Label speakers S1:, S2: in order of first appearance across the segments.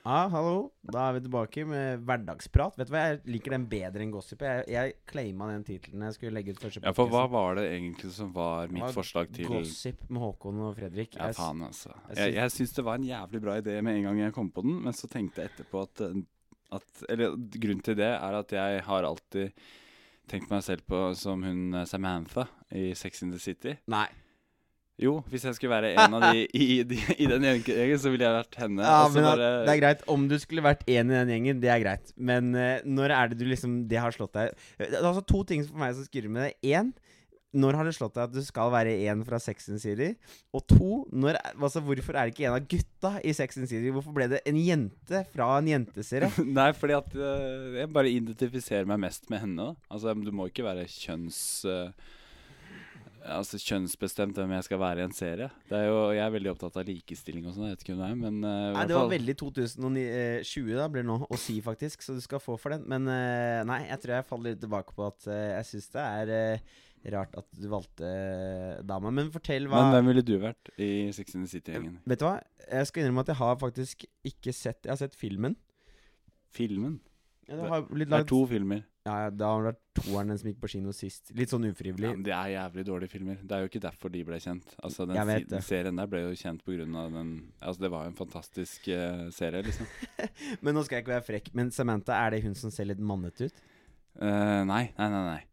S1: Ja, hallo. Da er vi tilbake med hverdagsprat. Vet du hva, Jeg liker den bedre enn gossip. Jeg, jeg claima den tittelen jeg skulle legge ut første
S2: Ja, for hva
S1: podcasten.
S2: var det egentlig som var
S1: Det var
S2: mitt forslag til
S1: Gossip med Håkon og Fredrik.
S2: Ja,
S1: Jeg s-
S2: faen, altså.
S1: jeg
S2: Jeg,
S1: syns-
S2: jeg syns det var en jævlig bra idé med en gang jeg kom på den, men så tenkte jeg etterpå at, eh, at Eller grunnen til det er at jeg har alltid tenkt meg selv på som hun eh, Samantha i Sex in the City.
S1: Nei.
S2: Jo, hvis jeg skulle være en av de i, de, i den gjengen, så ville jeg vært henne.
S1: Ja,
S2: og så
S1: men at-
S2: altså bare-
S1: Det er greit. Om du skulle vært én i den gjengen, det er greit. Men eh, når er det du liksom Det har slått deg Det er altså to ting for meg som skurrer med det. Én, når har det slått deg at du skal være én fra Sex and City? Og to, når, altså, hvorfor er det ikke en av gutta i Sex and City? Hvorfor ble det en jente fra en jenteserie?
S2: Nei, fordi at eh, jeg bare identifiserer meg mest med henne. Da. Altså, du må ikke være kjønns... eh, Altså kjønnsbestemt hvem jeg skal være i en serie. Det er jo, jeg er veldig opptatt av likestilling og sånn. Jeg vet ikke hvem det er, men eh, i
S1: Nei,
S2: hvert
S1: det var
S2: fall-
S1: veldig 2020 da, blir det nå å si, faktisk, så du skal få for den. Men eh, nei, jeg tror jeg faller litt tilbake på at eh, jeg syns det er eh, rart at du valgte eh, dama. Men fortell hva
S2: Men hvem ville du vært i Sex and the City-gjengen?
S1: Vet du hva? Jeg skal innrømme at jeg har faktisk ikke sett Jeg har sett filmen.
S2: Filmen?
S1: Ja, det, har blitt
S2: Det er
S1: laget,
S2: to filmer.
S1: ja, ja, det har vært toeren den som gikk på kino sist. Litt sånn
S2: Ja,
S1: ufrivillig.
S2: men det er jævlig dårlige filmer. Det er jo ikke derfor de ble kjent. Altså, den
S1: Jeg vet
S2: si-
S1: det.
S2: serien der ble jo kjent på grunn av den Altså, det var jo en fantastisk eh, serie, liksom.
S1: Men nå skal jeg ikke være frekk. Men Samantha, er det hun som ser litt mannet ut?
S2: Eh, nei, nei, nei, nei.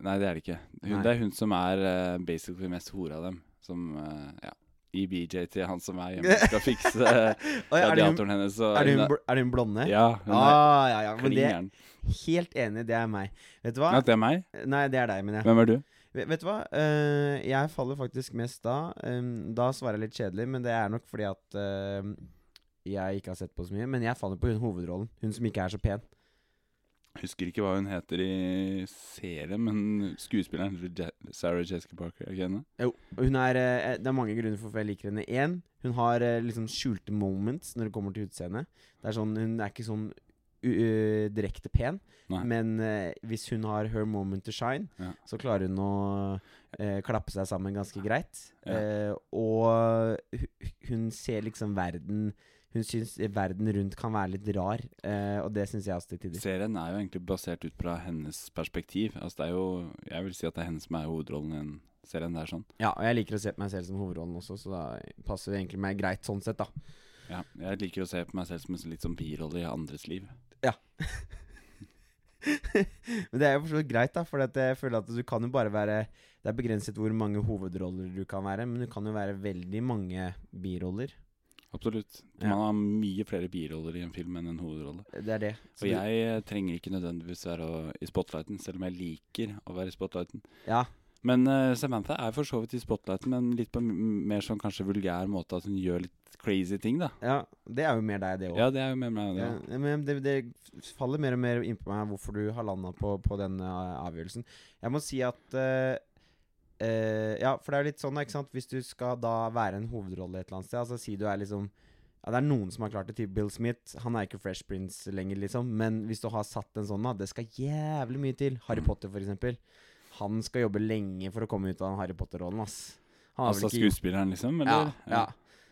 S2: Nei, det er det ikke. Hun,
S1: Nei.
S2: Det er hun som er eh, basically mest hore av dem. Som eh, ja, i BJ til han som er hjemme og skal fikse
S1: Oi, er, det hun,
S2: radiatoren hennes. Og
S1: er, det hun, bl- er det hun blonde?
S2: Ja, hun er
S1: ah, ja, ja. Men det,
S2: klingeren.
S1: helt enig, det er meg. Vet du hva?
S2: Ja, det er meg.
S1: Nei, det er deg, mener jeg.
S2: Hvem er du?
S1: Vet, vet du hva? Eh, jeg faller faktisk mest da. Em, da svarer jeg litt kjedelig, men det er nok fordi at eh, jeg ikke har sett på så mye. Men jeg faller på hun hovedrollen. Hun som ikke er så pen.
S2: Husker ikke hva hun heter i serien, men skuespilleren Je Sarah Jessica Parker, er ikke henne?
S1: Jo. og Hun er, eh, det er mange grunner for hvorfor jeg liker henne. Én, hun har eh, liksom skjulte moments når det kommer til utseendet. Det er sånn, Hun er ikke sånn u ø, direkte pen,
S2: Nei.
S1: men eh, hvis hun har her moment to shine,
S2: Ja.
S1: så klarer hun å eh, klappe seg sammen ganske greit.
S2: Ja.
S1: Eh, og hu- hun ser liksom verden Hun syns verden rundt kan være litt rar, eh, og det syns jeg også til tider.
S2: Serien er jo egentlig basert ut fra hennes perspektiv. Altså, det er jo Jeg vil si at det er henne som er hovedrollen i den serien der, sånn.
S1: Ja, og jeg liker å se på meg selv som hovedrollen også, så da passer det egentlig meg greit sånn sett, da.
S2: Ja, jeg liker å se på meg selv som en sånn- litt sånn birolle i andres liv.
S1: Men det er jo for så vidt greit, da, for at jeg føler at du kan jo bare være Det er begrenset hvor mange hovedroller du kan være, men du kan jo være veldig mange biroller.
S2: Absolutt.
S1: Ja.
S2: Man har mye flere biroller i en film enn en hovedrolle.
S1: Det er det. Så
S2: Og
S1: du-
S2: jeg eh, trenger ikke nødvendigvis være å- i spotlighten, selv om jeg liker å være i spotlighten.
S1: Ja.
S2: Men eh, Samantha er for så vidt i spotlighten, men litt på en m- mer sånn kanskje vulgær måte. At hun gjør litt crazy ting, da.
S1: ja, det er jo mer deg, det òg.
S2: Ja, det er jo med meg. Det.
S1: Eh, men det, det faller mer og mer inn på meg hvorfor du har landa på, på den eh, avgjørelsen. Jeg må si at eh, eh, Ja, for det er jo litt sånn, da, ikke sant. Hvis du skal da være en hovedrolle et eller annet sted, altså si du er liksom ja, Det er noen som har klart det til Bill Smith. Han er ikke Fresh Prince lenger, liksom. Men hvis du har satt en sånn, da, det skal jævlig mye til. Harry
S2: Mm.
S1: Potter, for eksempel. Han skal jobbe lenge for å komme ut av den Harry Potter-rollen, ass. Han har vel
S2: Altså
S1: ikke gjort-
S2: skuespilleren, liksom?
S1: Ja,
S2: Eller, Eh,
S1: ja.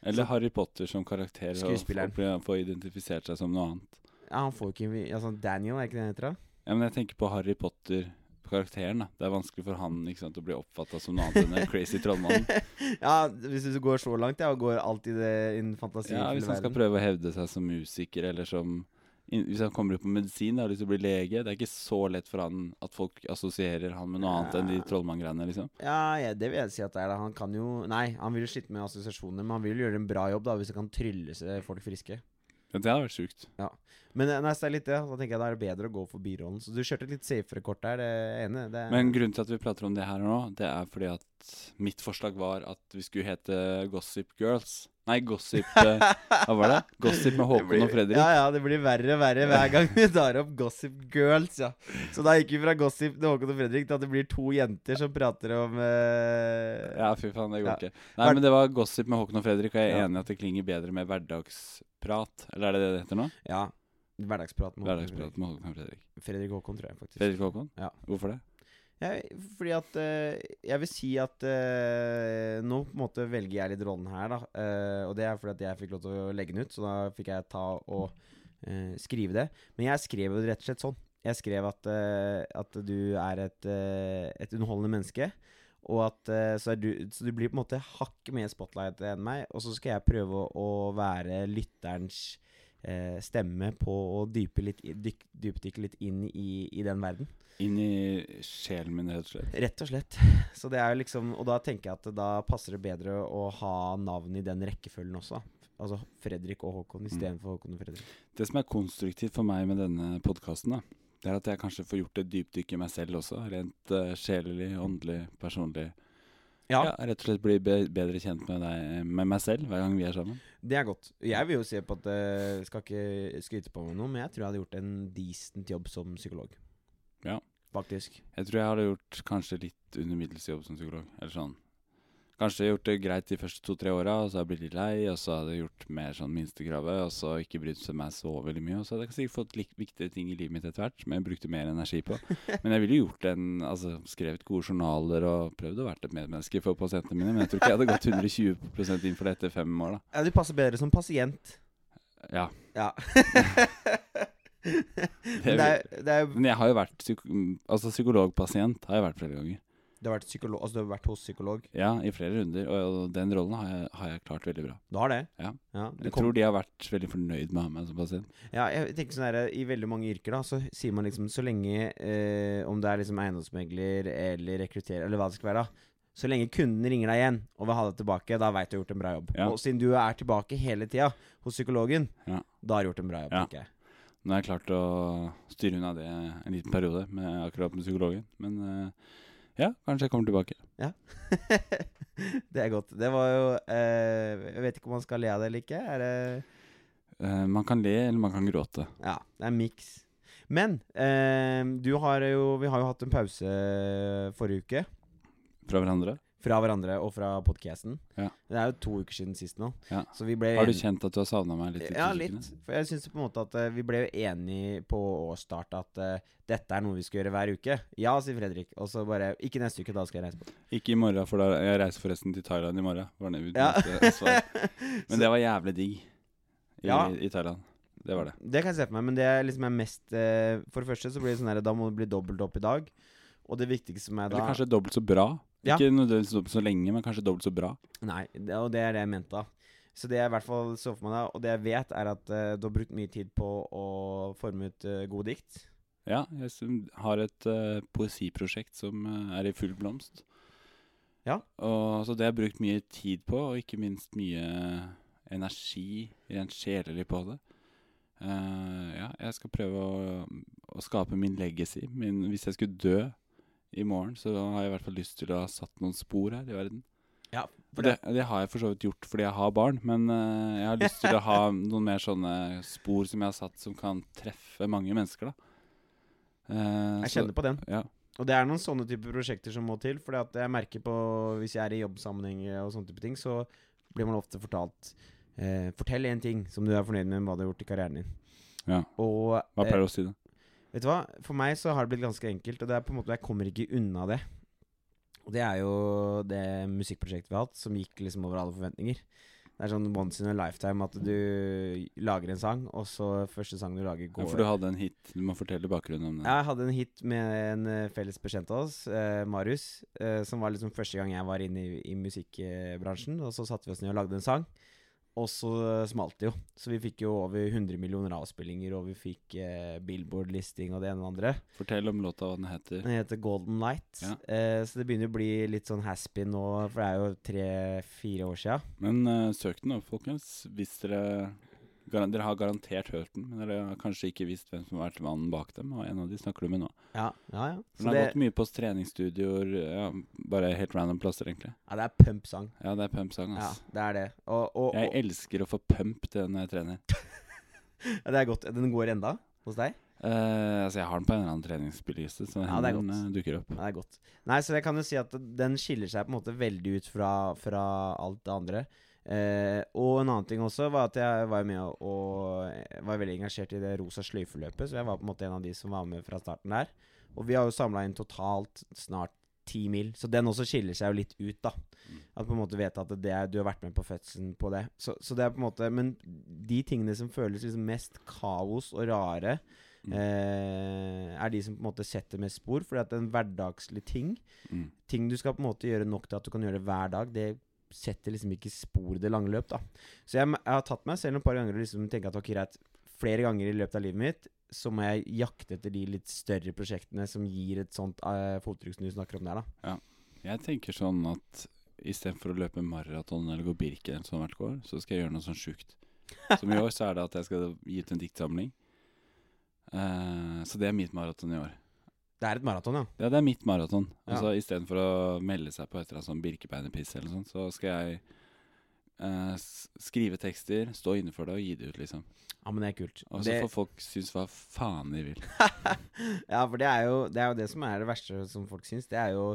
S2: eller Harry Potter som karakter. og
S1: Skuespilleren.
S2: få- bli- Få identifisert seg som noe annet.
S1: ja, han får ikke altså Daniel, er ikke det han heter? da?
S2: Ja, men jeg tenker på Harry Potter karakteren da Det er vanskelig for han ikke sant, å bli oppfatta som noe annet enn en crazy trollmann.
S1: Ja, hvis du går så langt, ja, og går alt i det innen fantasien
S2: Ja, Hvis han skal prøve å hevde seg som musiker, eller som in- Hvis han kommer ut på medisin, da, har lyst til å bli lege Det er ikke så lett for han at folk assosierer han med noe annet enn de trollmanngreiene, liksom.
S1: Ja, ja, det vil jeg si at det er. da. Han kan jo Nei, han vil jo slite med assosiasjoner, men han vil jo gjøre en bra jobb da hvis han kan trylle seg folk friske.
S2: Men Det hadde vært sjukt.
S1: Men eh, nei, så det er litt det. Da tenker jeg da er det bedre å gå for birollen. Så du kjørte et litt safere kort der, det er jeg enig. i. Det er,
S2: Men grunnen til at vi prater om det her nå, det er fordi at mitt forslag var at vi skulle hete Gossip Girls. Nei, Gossip eh, Hva var det? Gossip med Håkon og Fredrik.
S1: Ja, ja, det blir verre og verre hver gang vi tar opp Gossip Girls, ja. Så da gikk vi fra Gossip til Håkon og Fredrik til at det blir to jenter som prater om eh,
S2: Ja, fy faen, det går
S1: Ja.
S2: ikke. Nei,
S1: Hver-
S2: men det var Gossip med Håkon og Fredrik, og jeg
S1: Ja.
S2: er enig i at det klinger bedre med hverdagsprat. Eller er det det det heter nå?
S1: Ja. Hverdagsprat med Håkon og Fredrik.
S2: Hverdagsprat med Håkon og Fredrik.
S1: Fredrik Håkon, tror jeg faktisk.
S2: Fredrik og Håkon?
S1: Ja.
S2: Hvorfor det?
S1: Jeg, fordi at eh, Jeg vil si at eh, nå på en måte velger jeg litt rollen her, da. Eh, og det er fordi at jeg fikk lov til å legge den ut, så da fikk jeg ta og eh, skrive det. Men jeg skrev jo rett og slett sånn. Jeg skrev at, eh, at du er et, eh, et underholdende menneske. Og at eh, så, er du, så du blir på en måte hakk mer spotlight enn meg. Og så skal jeg prøve å, å være lytterens eh, stemme på å dype litt i- dyk, dypdykke litt inn i, i den verden.
S2: Inn i sjelen min, rett og slett.
S1: Rett og slett. Så det er jo liksom Og da tenker jeg at da passer det bedre å ha navn i den rekkefølgen også. da. Altså Fredrik og Håkon
S2: Mm.
S1: istedenfor Håkon og Fredrik.
S2: Det som er konstruktivt for meg med denne podkasten, det er at jeg kanskje får gjort et dypdykk i meg selv også. Rent eh, sjelelig, åndelig, personlig.
S1: Ja.
S2: Rett og slett bli be bedre kjent med, deg, med meg selv hver gang vi er sammen.
S1: Det er godt. Jeg vil jo se på at eh, Skal ikke skryte på meg noe, men jeg tror jeg hadde gjort en decent jobb som psykolog.
S2: Ja.
S1: Faktisk.
S2: Jeg tror jeg hadde gjort kanskje litt under middels jobb som psykolog. Eller sånn. Kanskje gjort det greit de første to-tre åra, og så hadde jeg blitt litt lei, og så hadde jeg gjort mer sånn minstekravet, og så ikke brydd seg meg så veldig mye. Og så hadde jeg sikkert fått lik viktige ting i livet mitt etter hvert, som jeg brukte mer energi på. Men jeg ville gjort en, altså skrevet gode journaler og prøvd å være et medmenneske for pasientene mine, men jeg tror ikke jeg hadde gått 120 inn for det etter fem år, da.
S1: Ja, du passer bedre som pasient.
S2: Ja.
S1: Ja.
S2: Det
S1: Men det er, det er,
S2: Men jeg har jo vært psyko altså psykologpasient har jeg vært flere ganger.
S1: du, har vært psykolog, altså, du har vært hos psykolog.
S2: Ja, i flere runder, og, og den rollen har jeg, har jeg klart veldig bra.
S1: Du har det?
S2: Ja.
S1: du
S2: Jeg
S1: kom-
S2: tror de har vært veldig fornøyd med å ha meg som pasient.
S1: Ja, jeg tenker sånn her, I veldig mange yrker da så sier man liksom så lenge eh, Om det er liksom eiendomsmegler eller rekrutterer eller hva det skal være, da. Så lenge kunden ringer deg igjen og vil ha deg tilbake, da veit du har gjort en bra jobb.
S2: Ja.
S1: Og siden du er tilbake hele tida hos psykologen,
S2: Ja.
S1: da har du gjort en bra jobb.
S2: Ja.
S1: tenker jeg
S2: Nå har jeg klart å styre unna det en liten periode, med, akkurat med psykologen. Men eh, ja, kanskje jeg kommer tilbake.
S1: Det er godt. Det var jo eh, Jeg vet ikke om man skal le av det eller ikke. Er det
S2: Eh, man kan le, eller man kan gråte.
S1: Ja, det er en miks. Men eh, du har jo Vi har jo hatt en pause eh, forrige uke.
S2: Fra hverandre.
S1: Fra hverandre og fra podkasten.
S2: Ja.
S1: Det er jo to uker siden sist nå.
S2: Ja.
S1: Så vi ble
S2: Har du
S1: enige-
S2: kjent at du har savna meg litt?
S1: Eh,
S2: i
S1: Ja,
S2: tusjekene?
S1: litt. For jeg syns på en måte at eh, vi ble jo enige på årsstart at eh, dette er noe vi skal gjøre hver uke. Ja, sier Fredrik. Og så bare Ikke neste uke, da skal jeg reise på.
S2: Ikke i morgen, for da jeg reiser forresten til Thailand i morgen. Var det mitt
S1: Ja.
S2: neste svar. Men det var jævlig digg i,
S1: Ja.
S2: i Thailand. Det var det.
S1: Det kan jeg se for meg, men det er liksom er mest eh, For det første så blir det sånn her da må det bli dobbelt opp i dag. Og det viktigste som er da
S2: Eller kanskje dobbelt så bra.
S1: Ja.
S2: Ikke nødvendigvis dobbelt så lenge, men kanskje dobbelt så bra.
S1: Nei, det, og det er det jeg mente, da. Så det jeg i hvert fall så for meg da, og det jeg vet, er at eh, du har brukt mye tid på å forme ut eh, gode dikt.
S2: Ja, jeg syn- har et eh, poesiprosjekt som eh, er i full blomst.
S1: Ja.
S2: Og, så det har jeg brukt mye tid på, og ikke minst mye energi, rent sjelelig på det. Eh, ja, jeg skal prøve å, å skape min legacy. Min, hvis jeg skulle dø i morgen, så har jeg i hvert fall lyst til å ha satt noen spor her i verden.
S1: Ja,
S2: Og det, det har jeg for så vidt gjort fordi jeg har barn, men eh, jeg har lyst til å ha noen mer sånne spor som jeg har satt som kan treffe mange mennesker, da. Eh,
S1: Jeg
S2: så-
S1: kjenner på den.
S2: ja.
S1: Og det er noen sånne type prosjekter som må til. For jeg merker på Hvis jeg er i jobbsammenheng eh, og sånne type ting, så blir man ofte fortalt eh, Fortell én ting som du er fornøyd med med hva du har gjort i karrieren din.
S2: Ja.
S1: Og
S2: Hva
S1: eh,
S2: pleier du å si, da?
S1: vet du hva? For meg så har det blitt ganske enkelt, og det er på en måte jeg kommer ikke unna det. Og det er jo det musikkprosjektet vi har hatt, som gikk liksom over alle forventninger. Det er sånn once in a lifetime at du lager en sang, og så første sang du lager,
S2: Ja,
S1: går
S2: for du hadde en hit. Du må fortelle bakgrunnen om den.
S1: Jeg hadde en hit med en eh, felles bekjent av oss, eh, Marius, eh, som var liksom første gang jeg var inne i, i musikkbransjen. Og så satte vi oss ned og lagde en sang, og så eh, smalt det jo. Så vi fikk jo over 100 millioner avspillinger, og vi fikk eh, Billboard-listing og det ene og det andre.
S2: Fortell om låta, hva den heter.
S1: Den heter Golden Light,
S2: Ja.
S1: eh, så det begynner å bli litt sånn haspy nå, for det er jo tre-fire år sia.
S2: Men eh, søk den opp, folkens. Hvis dere Garan- Dere har garantert hørt den, men dere har kanskje ikke visst hvem som har vært mannen bak dem. Og en av de snakker du med nå.
S1: Ja, ja. ja.
S2: Den
S1: Så
S2: har
S1: det,
S2: gått mye på treningsstudioer, ja, bare helt random plasser, egentlig.
S1: ja, det er pump-sang.
S2: Ja, det er pump-sang,
S1: Ja,
S2: ass.
S1: det er det. Og, og, og
S2: Jeg elsker å få pump til når jeg trener.
S1: ja, det er godt. Den går enda hos deg?
S2: Eh, altså, jeg har den på en eller annen treningsspilleliste, så
S1: Ja, det er
S2: den
S1: godt.
S2: eh, dukker opp.
S1: Ja, det er godt. Nei, så jeg kan jo si at den skiller seg på en måte veldig ut fra, fra alt det andre. Eh, og en annen ting også var at jeg var jo med og, og var veldig engasjert i det rosa sløyfeløpet, så jeg var på en måte en av de som var med fra starten der. Og vi har jo samla inn totalt snart ti mil, så den også skiller seg jo litt ut, da. At på en måte vet at det er, du har vært med på fødselen på det. Så, så det er på en måte Men de tingene som føles liksom mest kaos og rare,
S2: Mm.
S1: eh, er de som på en måte setter mest spor. Fordi at en hverdagslig ting,
S2: Mm.
S1: ting du skal på en måte gjøre nok til at du kan gjøre det hver dag, det setter liksom ikke spor i det lange løp, da. Så jeg, jeg har tatt meg selv et par ganger og liksom tenkt at ok, greit, flere ganger i løpet av livet mitt så må jeg jakte etter de litt større prosjektene som gir et sånt eh, fottrykk som du snakker om der, da.
S2: Jeg tenker sånn at istedenfor å løpe maraton eller gå Birken eller sånn hvert år, så skal jeg gjøre noe sånn sjukt. Som i år så er det at jeg skal gi ut en diktsamling. Eh, så det er mitt maraton i år.
S1: Det er et maraton, ja.
S2: Ja, det er mitt maraton.
S1: Ja.
S2: Altså Istedenfor å melde seg på et eller annet sånn Birkebeinerpiss eller sånt, så skal jeg eh, s- skrive tekster, stå inne for det og gi det ut, liksom.
S1: Ja, men det er kult.
S2: Og så
S1: Det-
S2: får folk synes hva faen de vil.
S1: ja, for det er, jo, det er jo det som er det verste som folk syns. Det er jo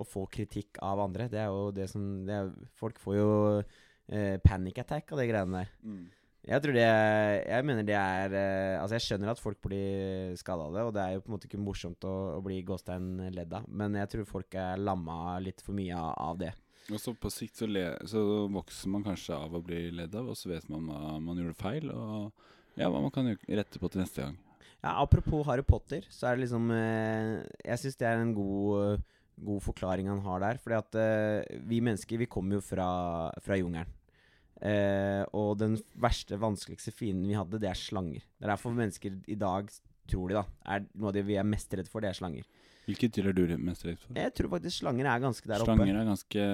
S1: å få kritikk av andre. Det er jo det som det er, Folk får jo eh, panic attack av de greiene der. Jeg tror det er- Jeg mener det er eh, Altså, jeg skjønner at folk blir skada av det, og det er jo på en måte ikke morsomt å, å bli gåstein ledd av, men jeg tror folk er lamma litt for mye av, av det.
S2: Og så på sikt så, le, så vokser man kanskje av å bli ledd av, og så vet man hva man gjorde feil, og ja, hva man kan jo rette på til neste gang.
S1: Ja, apropos Harry Potter, så er det liksom eh, Jeg syns det er en god, eh, god forklaring han har der. Fordi at eh, vi mennesker, vi kommer jo fra, fra jungelen. Eh, og den verste, vanskeligste fienden vi hadde, det er slanger. Det er derfor mennesker i dag, tror de, da, er noe av det vi er mest redd for, det er slanger.
S2: Hvilket dyr er du mest redd for?
S1: Jeg tror faktisk slanger er ganske der oppe.
S2: Slanger er ganske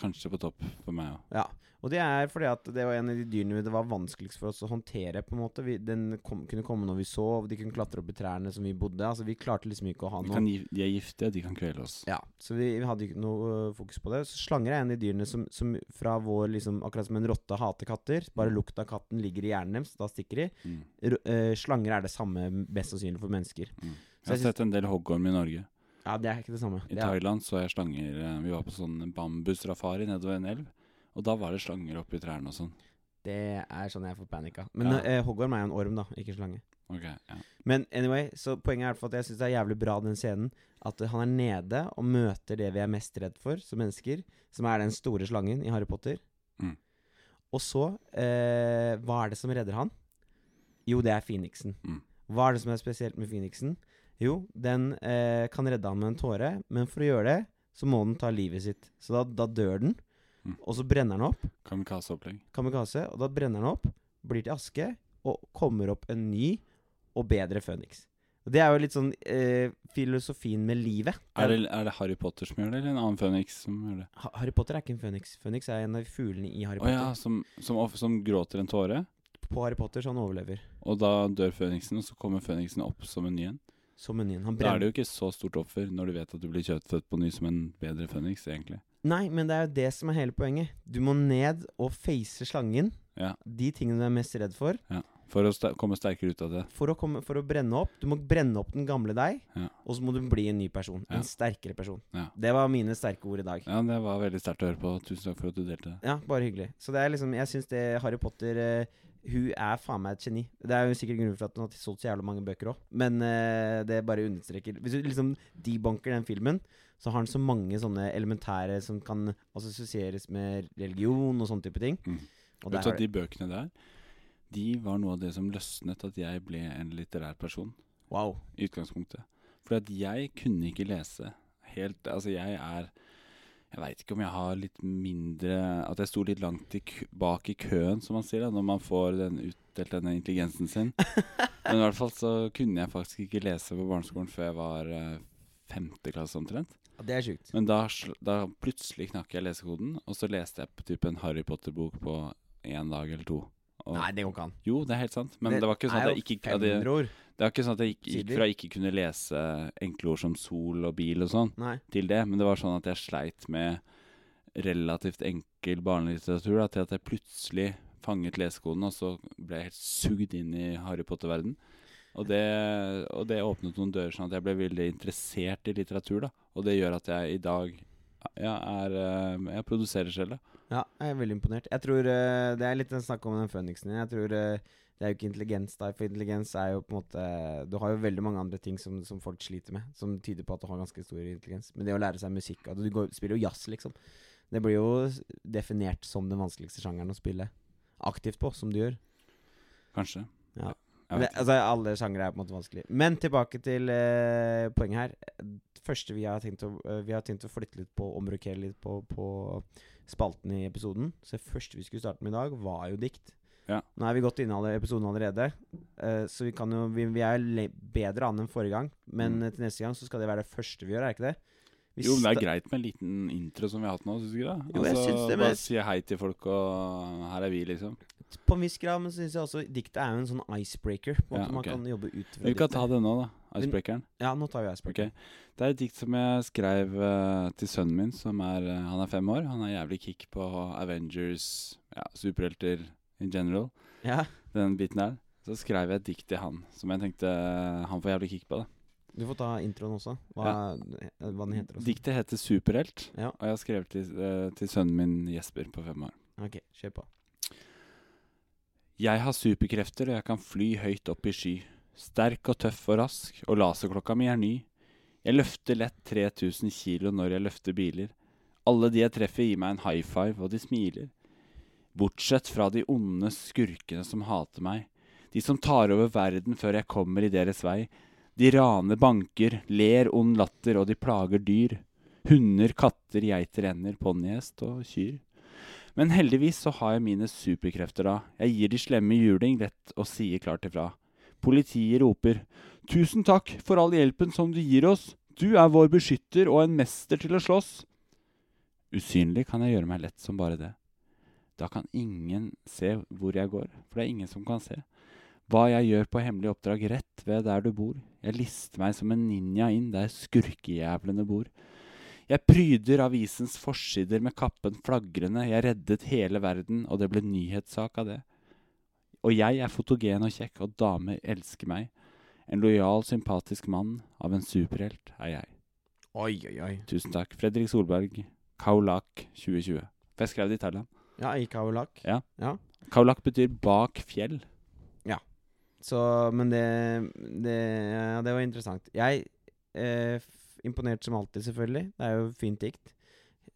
S2: kanskje på topp for meg òg.
S1: Ja, og det er fordi at det var en av de dyrene det var vanskeligst for oss å håndtere. på en måte vi, Den kom, kunne komme når vi sov, de kunne klatre opp i trærne som vi bodde. Altså Vi klarte liksom ikke å ha
S2: De,
S1: noe
S2: kan gi- de er giftige, de kan kvele oss.
S1: Ja, så vi, vi hadde ikke noe øh, fokus på det. Så slanger er en av de dyrene som, som fra vår liksom, Akkurat som en rotte hater katter. Bare lukta av katten ligger i hjernen deres, da stikker de.
S2: Mm.
S1: R øh, slanger er det samme, mest sannsynlig, for mennesker.
S2: Jeg har
S1: jeg syns-
S2: sett en del hoggorm i Norge.
S1: Ja, det er ikke det samme.
S2: I
S1: Det er,
S2: Thailand så jeg slanger eh, Vi var på sånn bambusrafari nedover en elv. Og da var det slanger oppi trærne og sånn.
S1: det er sånn jeg får panikk av. Men
S2: Ja.
S1: øh, hoggorm er jo en orm, da, ikke en slange.
S2: Ok, ja.
S1: Men anyway, så poenget er i hvert fall at jeg syns det er jævlig bra den scenen. At øh, han er nede og møter det vi er mest redd for som mennesker, som er den store slangen i Harry Potter.
S2: Mm.
S1: Og så eh, Hva er det som redder han? Jo, det er Phoenixen.
S2: Mm.
S1: Hva er det som er spesielt med Phoenixen? Jo, den eh, kan redde ham med en tåre, men for å gjøre det, så må den ta livet sitt. Så da, da dør den,
S2: Mm.
S1: og så brenner den opp,
S2: Kamikazeopplegg.
S1: kamikaze, og da brenner den opp, blir til aske, og kommer opp en ny og bedre Phoenix. Og Det er jo litt sånn eh, filosofien med livet.
S2: Er, det- er det Harry Potter som gjør det, eller en annen føniks som gjør det?
S1: Ha- Harry Potter er ikke en Phoenix. Phoenix er en av fuglene i Harry
S2: Å ja,
S1: Potter.
S2: som, som, of- som gråter en tåre,
S1: På Harry Potter så han overlever.
S2: og da dør føniksen, og så kommer føniksen opp som en ny en.
S1: Som en ny en. Han
S2: Da
S1: brenner
S2: er det jo ikke så stort offer når du vet at du blir kjøttfødt på ny som en bedre føniks, egentlig.
S1: Nei, men det er jo det som er hele poenget. Du må ned og face slangen.
S2: Ja.
S1: De tingene du er mest redd for.
S2: For å sta- komme sterkere ut av det.
S1: For å, komme, for å brenne opp. Du må brenne opp den gamle deg,
S2: Ja.
S1: og så må du bli en ny person.
S2: Ja.
S1: En sterkere person.
S2: Ja.
S1: Det var mine sterke ord i dag.
S2: Ja, det var veldig sterkt å høre på. Tusen takk for at du delte.
S1: Ja, bare hyggelig. Så det er liksom, jeg syns det Harry Potter eh, Hun er faen meg et geni. Det er jo sikkert grunnen for at hun har solgt så jævla mange bøker òg, men eh, det bare understreker Hvis du liksom debunker den filmen, så har den så mange sånne elementære som kan assosieres med religion og sånne type ting.
S2: Mm.
S1: Og
S2: Vet
S1: der
S2: du
S1: har
S2: at de bøkene der, de var noe av det som løsnet at jeg ble en litterær person.
S1: Wow.
S2: I utgangspunktet. Fordi at jeg kunne ikke lese helt Altså, jeg er Jeg veit ikke om jeg har litt mindre At jeg sto litt langt i, kø- bak i køen, som man sier, da, når man får den utdelt denne intelligensen sin. Men i hvert fall så kunne jeg faktisk ikke lese på barneskolen før jeg var eh, femte klasse omtrent.
S1: Ja, det er sjukt.
S2: Men da, sl- da plutselig knakk jeg lesekoden, og så leste jeg på typ en Harry Potter-bok på én dag eller to. Og Og,
S1: Nei, det går ikke an.
S2: Jo, det er helt sant. Men det, var ikke sånn at jeg ikke at jeg,
S1: ord.
S2: Det var ikke sånn at jeg gikk, gikk
S1: sider.
S2: fra ikke kunne lese enkle ord som sol og bil og sånn,
S1: Nei.
S2: til det. Men det var sånn at jeg sleit med relativt enkel barnelitteratur da, til at jeg plutselig fanget lesekoden, og så ble jeg helt sugd inn i Harry Potter-verden. Og det, og det åpnet noen dører, sånn at jeg ble veldig interessert i litteratur. da. Og det gjør at jeg i dag ja, er, eh, jeg produserer selv. da.
S1: Ja, jeg er veldig imponert. Jeg tror eh, Det er litt en snakk om den føniksen din. Jeg tror eh, Det er jo ikke intelligens der, for intelligens er jo på en måte Du har jo veldig mange andre ting som, som folk sliter med, som tyder på at du har ganske stor intelligens. Men det å lære seg musikk at Du går, spiller jo jazz, liksom. Det blir jo s- definert som den vanskeligste sjangeren å spille aktivt på, som du gjør.
S2: Kanskje.
S1: Ja.
S2: Jeg vet
S1: Det, altså, alle sjangere er på en måte vanskelig. Men tilbake til eh, poenget her. Det første vi har tenkt å, eh, vi har tenkt å flytte litt på, omrokere litt på, på spalten i episoden. Så det første vi skulle starte med i dag, var jo dikt.
S2: Ja.
S1: Nå er vi godt inne i alle- episoden allerede, eh, så vi, kan jo, vi, vi er le bedre an enn forrige gang. Men
S2: Mm.
S1: eh, til neste gang så skal det være det første vi gjør, er ikke det? Vi
S2: Jo, men
S1: sta-
S2: det er greit med en liten intro som vi har hatt nå, syns du ikke det? Altså,
S1: Jo, jeg synes det, men-
S2: Bare si hei til folk, og her er vi, liksom.
S1: På en viss grad, men så syns jeg også diktet er jo en sånn icebreaker. På en
S2: Ja,
S1: måte Man
S2: ok.
S1: kan jobbe ut fra
S2: Vi kan
S1: diktet.
S2: ta det nå, da. Icebreakeren.
S1: Ja, nå tar vi
S2: Ok.
S1: icebreaker.
S2: Det er et dikt som jeg skrev eh, til sønnen min, som er eh, Han er fem år. Han er jævlig kick på Avengers, ja, superhelter in general.
S1: Ja,
S2: Den biten der. Så skrev jeg et dikt til han, som jeg tenkte eh, han får jævlig kick på. da
S1: Du får ta introen også. Hva, hva den heter også.
S2: Diktet heter 'Superhelt',
S1: Ja.
S2: og jeg har skrevet til, eh, til sønnen min Jesper på fem år.
S1: Ok, kjør på.
S2: Jeg har superkrefter, og jeg kan fly høyt opp i sky. Sterk og tøff og rask, og laserklokka mi er ny. Jeg løfter lett 3000 kilo når jeg løfter biler. Alle de jeg treffer, gir meg en high five, og de smiler. Bortsett fra de onde skurkene som hater meg. De som tar over verden før jeg kommer i deres vei. De raner banker, ler ond latter, og de plager dyr. Hunder, katter, geiter, ender, ponnihest og kyr. Men heldigvis så har jeg mine superkrefter da. Jeg gir de slemme juling lett og sier klart ifra. Politiet roper 'Tusen takk for all hjelpen som du gir oss'. Du er vår beskytter og en mester til å slåss. Usynlig kan jeg gjøre meg lett som bare det. Da kan ingen se hvor jeg går, for det er ingen som kan se. Hva jeg gjør på hemmelig oppdrag rett ved der du bor. Jeg lister meg som en ninja inn der skurkejævlene bor. Jeg pryder avisens forsider med kappen flagrende, jeg reddet hele verden, og det ble nyhetssak av det. Og jeg er fotogen og kjekk, og damer elsker meg. En lojal, sympatisk mann av en superhelt er jeg.
S1: Oi, oi, oi.
S2: Tusen takk, Fredrik Solberg, Kaulak 2020. For jeg skrev det i Thailand.
S1: Ja, i Kaulak.
S2: Kaulak betyr bak fjell.
S1: Så, men det Det, ja, det var interessant. Jeg eh, f- Imponert som alltid, selvfølgelig. Det er jo fint dikt.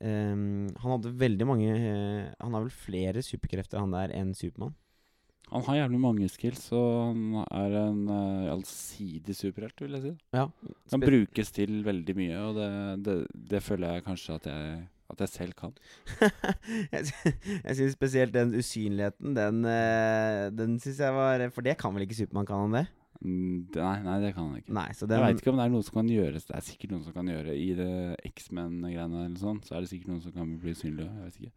S1: Ehm, han hadde veldig mange eh, Han har vel flere superkrefter, han der, enn Supermann.
S2: Han har jævlig mange skills, og han er en eh, allsidig superhelt, vil jeg si.
S1: Ja.
S2: Kan
S1: Spe-
S2: brukes til veldig mye, og det, det, det føler jeg kanskje at jeg, at jeg selv kan.
S1: jeg sy- jeg syns spesielt den usynligheten, den, eh, den syns jeg var For det kan vel ikke Supermann, kan han det?
S2: Mm, det- Nei, nei, det kan han ikke.
S1: Nei, så
S2: Jeg
S1: den
S2: veit ikke om det er noe som kan gjøres. Det er sikkert noen som kan gjøre i det X-Men-greiene eller sånn. Så er det sikkert noen som kan bli usynlig. Jeg vet ikke.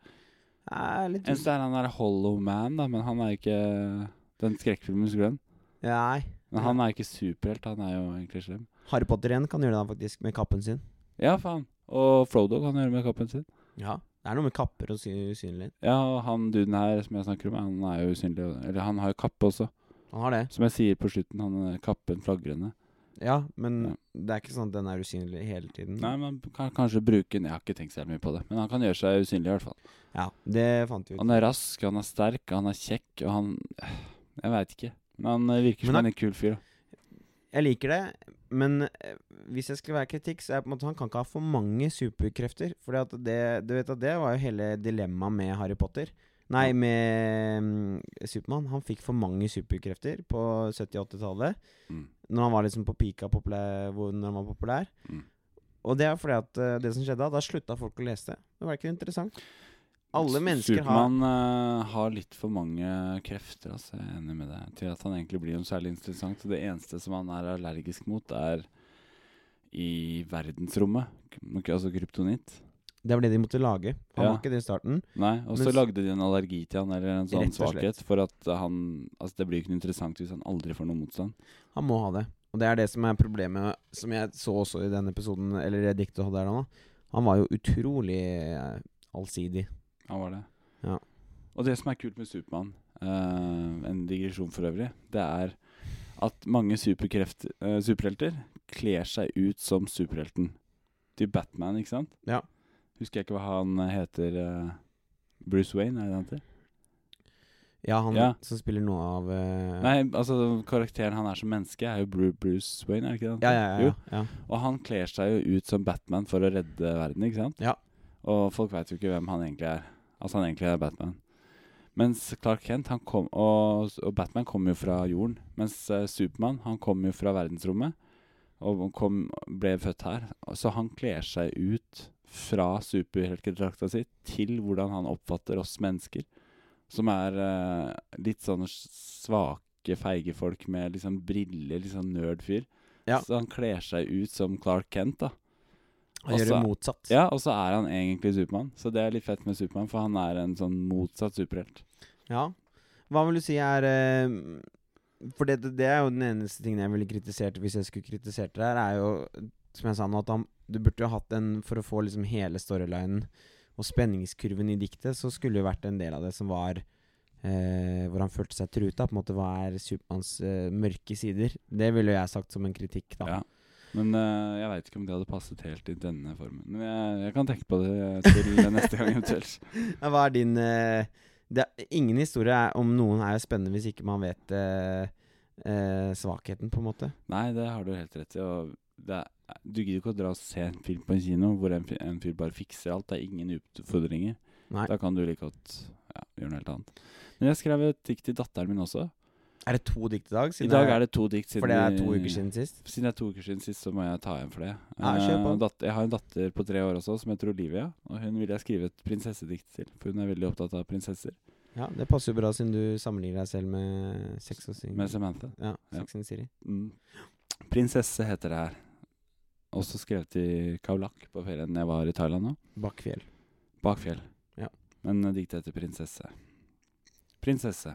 S1: er litt
S2: Eneste er han der Hollow Man, da, men han er ikke Den skrekkfilmen, husker du den?
S1: Nei.
S2: Men han er ikke superhelt, han er jo egentlig slem.
S1: Harry Potter igjen kan gjøre det han faktisk med kappen sin.
S2: Ja, faen. Og Frodo kan gjøre med kappen sin.
S1: Ja Det er noe med kapper og sy- usynlighet.
S2: Ja, og han duden her som jeg snakker om, han er jo usynlig. Eller han har jo kappe også.
S1: Han har det.
S2: Som jeg sier på slutten, han er kappen flagrende.
S1: Ja, men
S2: Ja.
S1: det er ikke sånn at den er usynlig hele tiden.
S2: Nei, man kan kanskje bruke den. Jeg har ikke tenkt så jævlig mye på det. Men han kan gjøre seg usynlig, i hvert fall.
S1: Ja, det fant vi ut.
S2: Han er rask, han er sterk, han er kjekk, og han Jeg veit ikke. Men han eh, virker som
S1: Men han-
S2: en kul fyr. da.
S1: Jeg liker det, men eh, hvis jeg skulle være kritikk, så er det på en måte han kan ikke ha for mange superkrefter. For det, du vet at det var jo hele dilemmaet med Harry Potter. Nei,
S2: Ja.
S1: med mm, Supermann. Han fikk for mange superkrefter på 70-80-tallet.
S2: Mm.
S1: Når han var liksom på pika populær, hvor, når han var populær.
S2: Mm.
S1: Og det er fordi at eh, det som skjedde da, da slutta folk å lese det. Det var ikke interessant. Alle mennesker har
S2: Supermann eh, har litt for mange krefter, altså. Jeg er enig med deg. Til at han egentlig blir noe særlig interessant. Og det eneste som han er allergisk mot, er i verdensrommet. K- Altså kryptonitt.
S1: Det var det de måtte lage. Han
S2: Ja.
S1: var ikke det i starten.
S2: Nei, og så
S1: Mens-
S2: lagde de en allergi til han, eller en sånn
S1: Rett og slett.
S2: svakhet, for at han Altså, det blir jo ikke noe interessant hvis han aldri får noe motstand.
S1: Han må ha det. Og det er det som er problemet, som jeg så også i den episoden, eller det diktet du hadde her nå. Han var jo utrolig eh, allsidig.
S2: Han var det.
S1: Ja.
S2: Og det som er kult med Supermann, eh, en digresjon for øvrig, det er at mange superkreft, eh, superhelter kler seg ut som superhelten. Til Batman, ikke sant?
S1: Ja.
S2: Husker jeg ikke hva han eh, heter eh, Bruce Wayne, er det han heter?
S1: Ja, han
S2: Ja.
S1: som spiller noe av eh,
S2: Nei, altså karakteren han er som menneske, er jo Bru Bruce Wayne, er det ikke det? han
S1: Ja, ja,
S2: heter?
S1: ja. ja.
S2: Jo, og han kler seg jo ut som Batman for å redde verden, ikke sant?
S1: Ja.
S2: Og folk veit jo ikke hvem han egentlig er. Altså, han egentlig er Batman. Mens Clark Kent han kom, og, og Batman kom jo fra jorden. Mens eh, Supermann han kom jo fra verdensrommet og kom, ble født her. Så han kler seg ut fra superheltdrakta si til hvordan han oppfatter oss mennesker. Som er eh, litt sånne svake, feige folk med liksom briller, litt sånn nerdfyr.
S1: Ja.
S2: Så han kler seg ut som Clark Kent, da.
S1: Han
S2: Og
S1: gjør
S2: så-
S1: det motsatt.
S2: Altså, Ja, og så er han egentlig Supermann. Så det er litt fett med Supermann, for han er en sånn motsatt superhelt.
S1: Ja. Hva vil du si er eh, For det, det er jo den eneste tingen jeg ville kritisert hvis jeg skulle kritisert det her, er jo, som jeg sa nå, at han, du burde jo hatt en For å få liksom hele storylinen og spenningskurven i diktet, så skulle det jo vært en del av det som var eh, hvor han følte seg truet av. På en måte, hva er Supermanns eh, mørke sider? Det ville jo jeg sagt som en kritikk, da.
S2: Ja. Men eh, jeg veit ikke om det hadde passet helt i denne formen. Men jeg, jeg kan tenke på det til neste gang eventuelt.
S1: Men hva er din eh, det, er- Ingen historie er, om noen er jo spennende hvis ikke man vet eh, eh, svakheten, på en måte.
S2: Nei, det har du helt rett i. Og det er, du gidder ikke å dra og se en film på en kino hvor en, fi- en fyr bare fikser alt. Det er ingen utfordringer.
S1: Nei.
S2: Da kan du like godt ja, gjøre noe helt annet. Men jeg skrev et dikt til datteren min også.
S1: Er det to dikt i dag?
S2: I dag er det to dikt siden
S1: For det er to
S2: vi-
S1: uker siden sist?
S2: Siden det er to uker siden sist, så må jeg ta igjen for det.
S1: Ja, kjør på.
S2: Eh, datt- jeg har en datter på tre år også som heter Olivia. Og hun vil jeg skrive et prinsessedikt til, for hun er veldig opptatt av prinsesser.
S1: Ja, det passer jo bra, siden du sammenligner deg selv med Sex og Sin.
S2: Med Samantha.
S1: ja,
S2: ja.
S1: Sex and the City.
S2: Mm. Prinsesse heter det her. Også skrevet i Kaulak på ferien jeg var i Thailand nå.
S1: Bakkfjell.
S2: Bakfjell.
S1: Ja.
S2: Men eh, diktet heter Prinsesse. Prinsesse.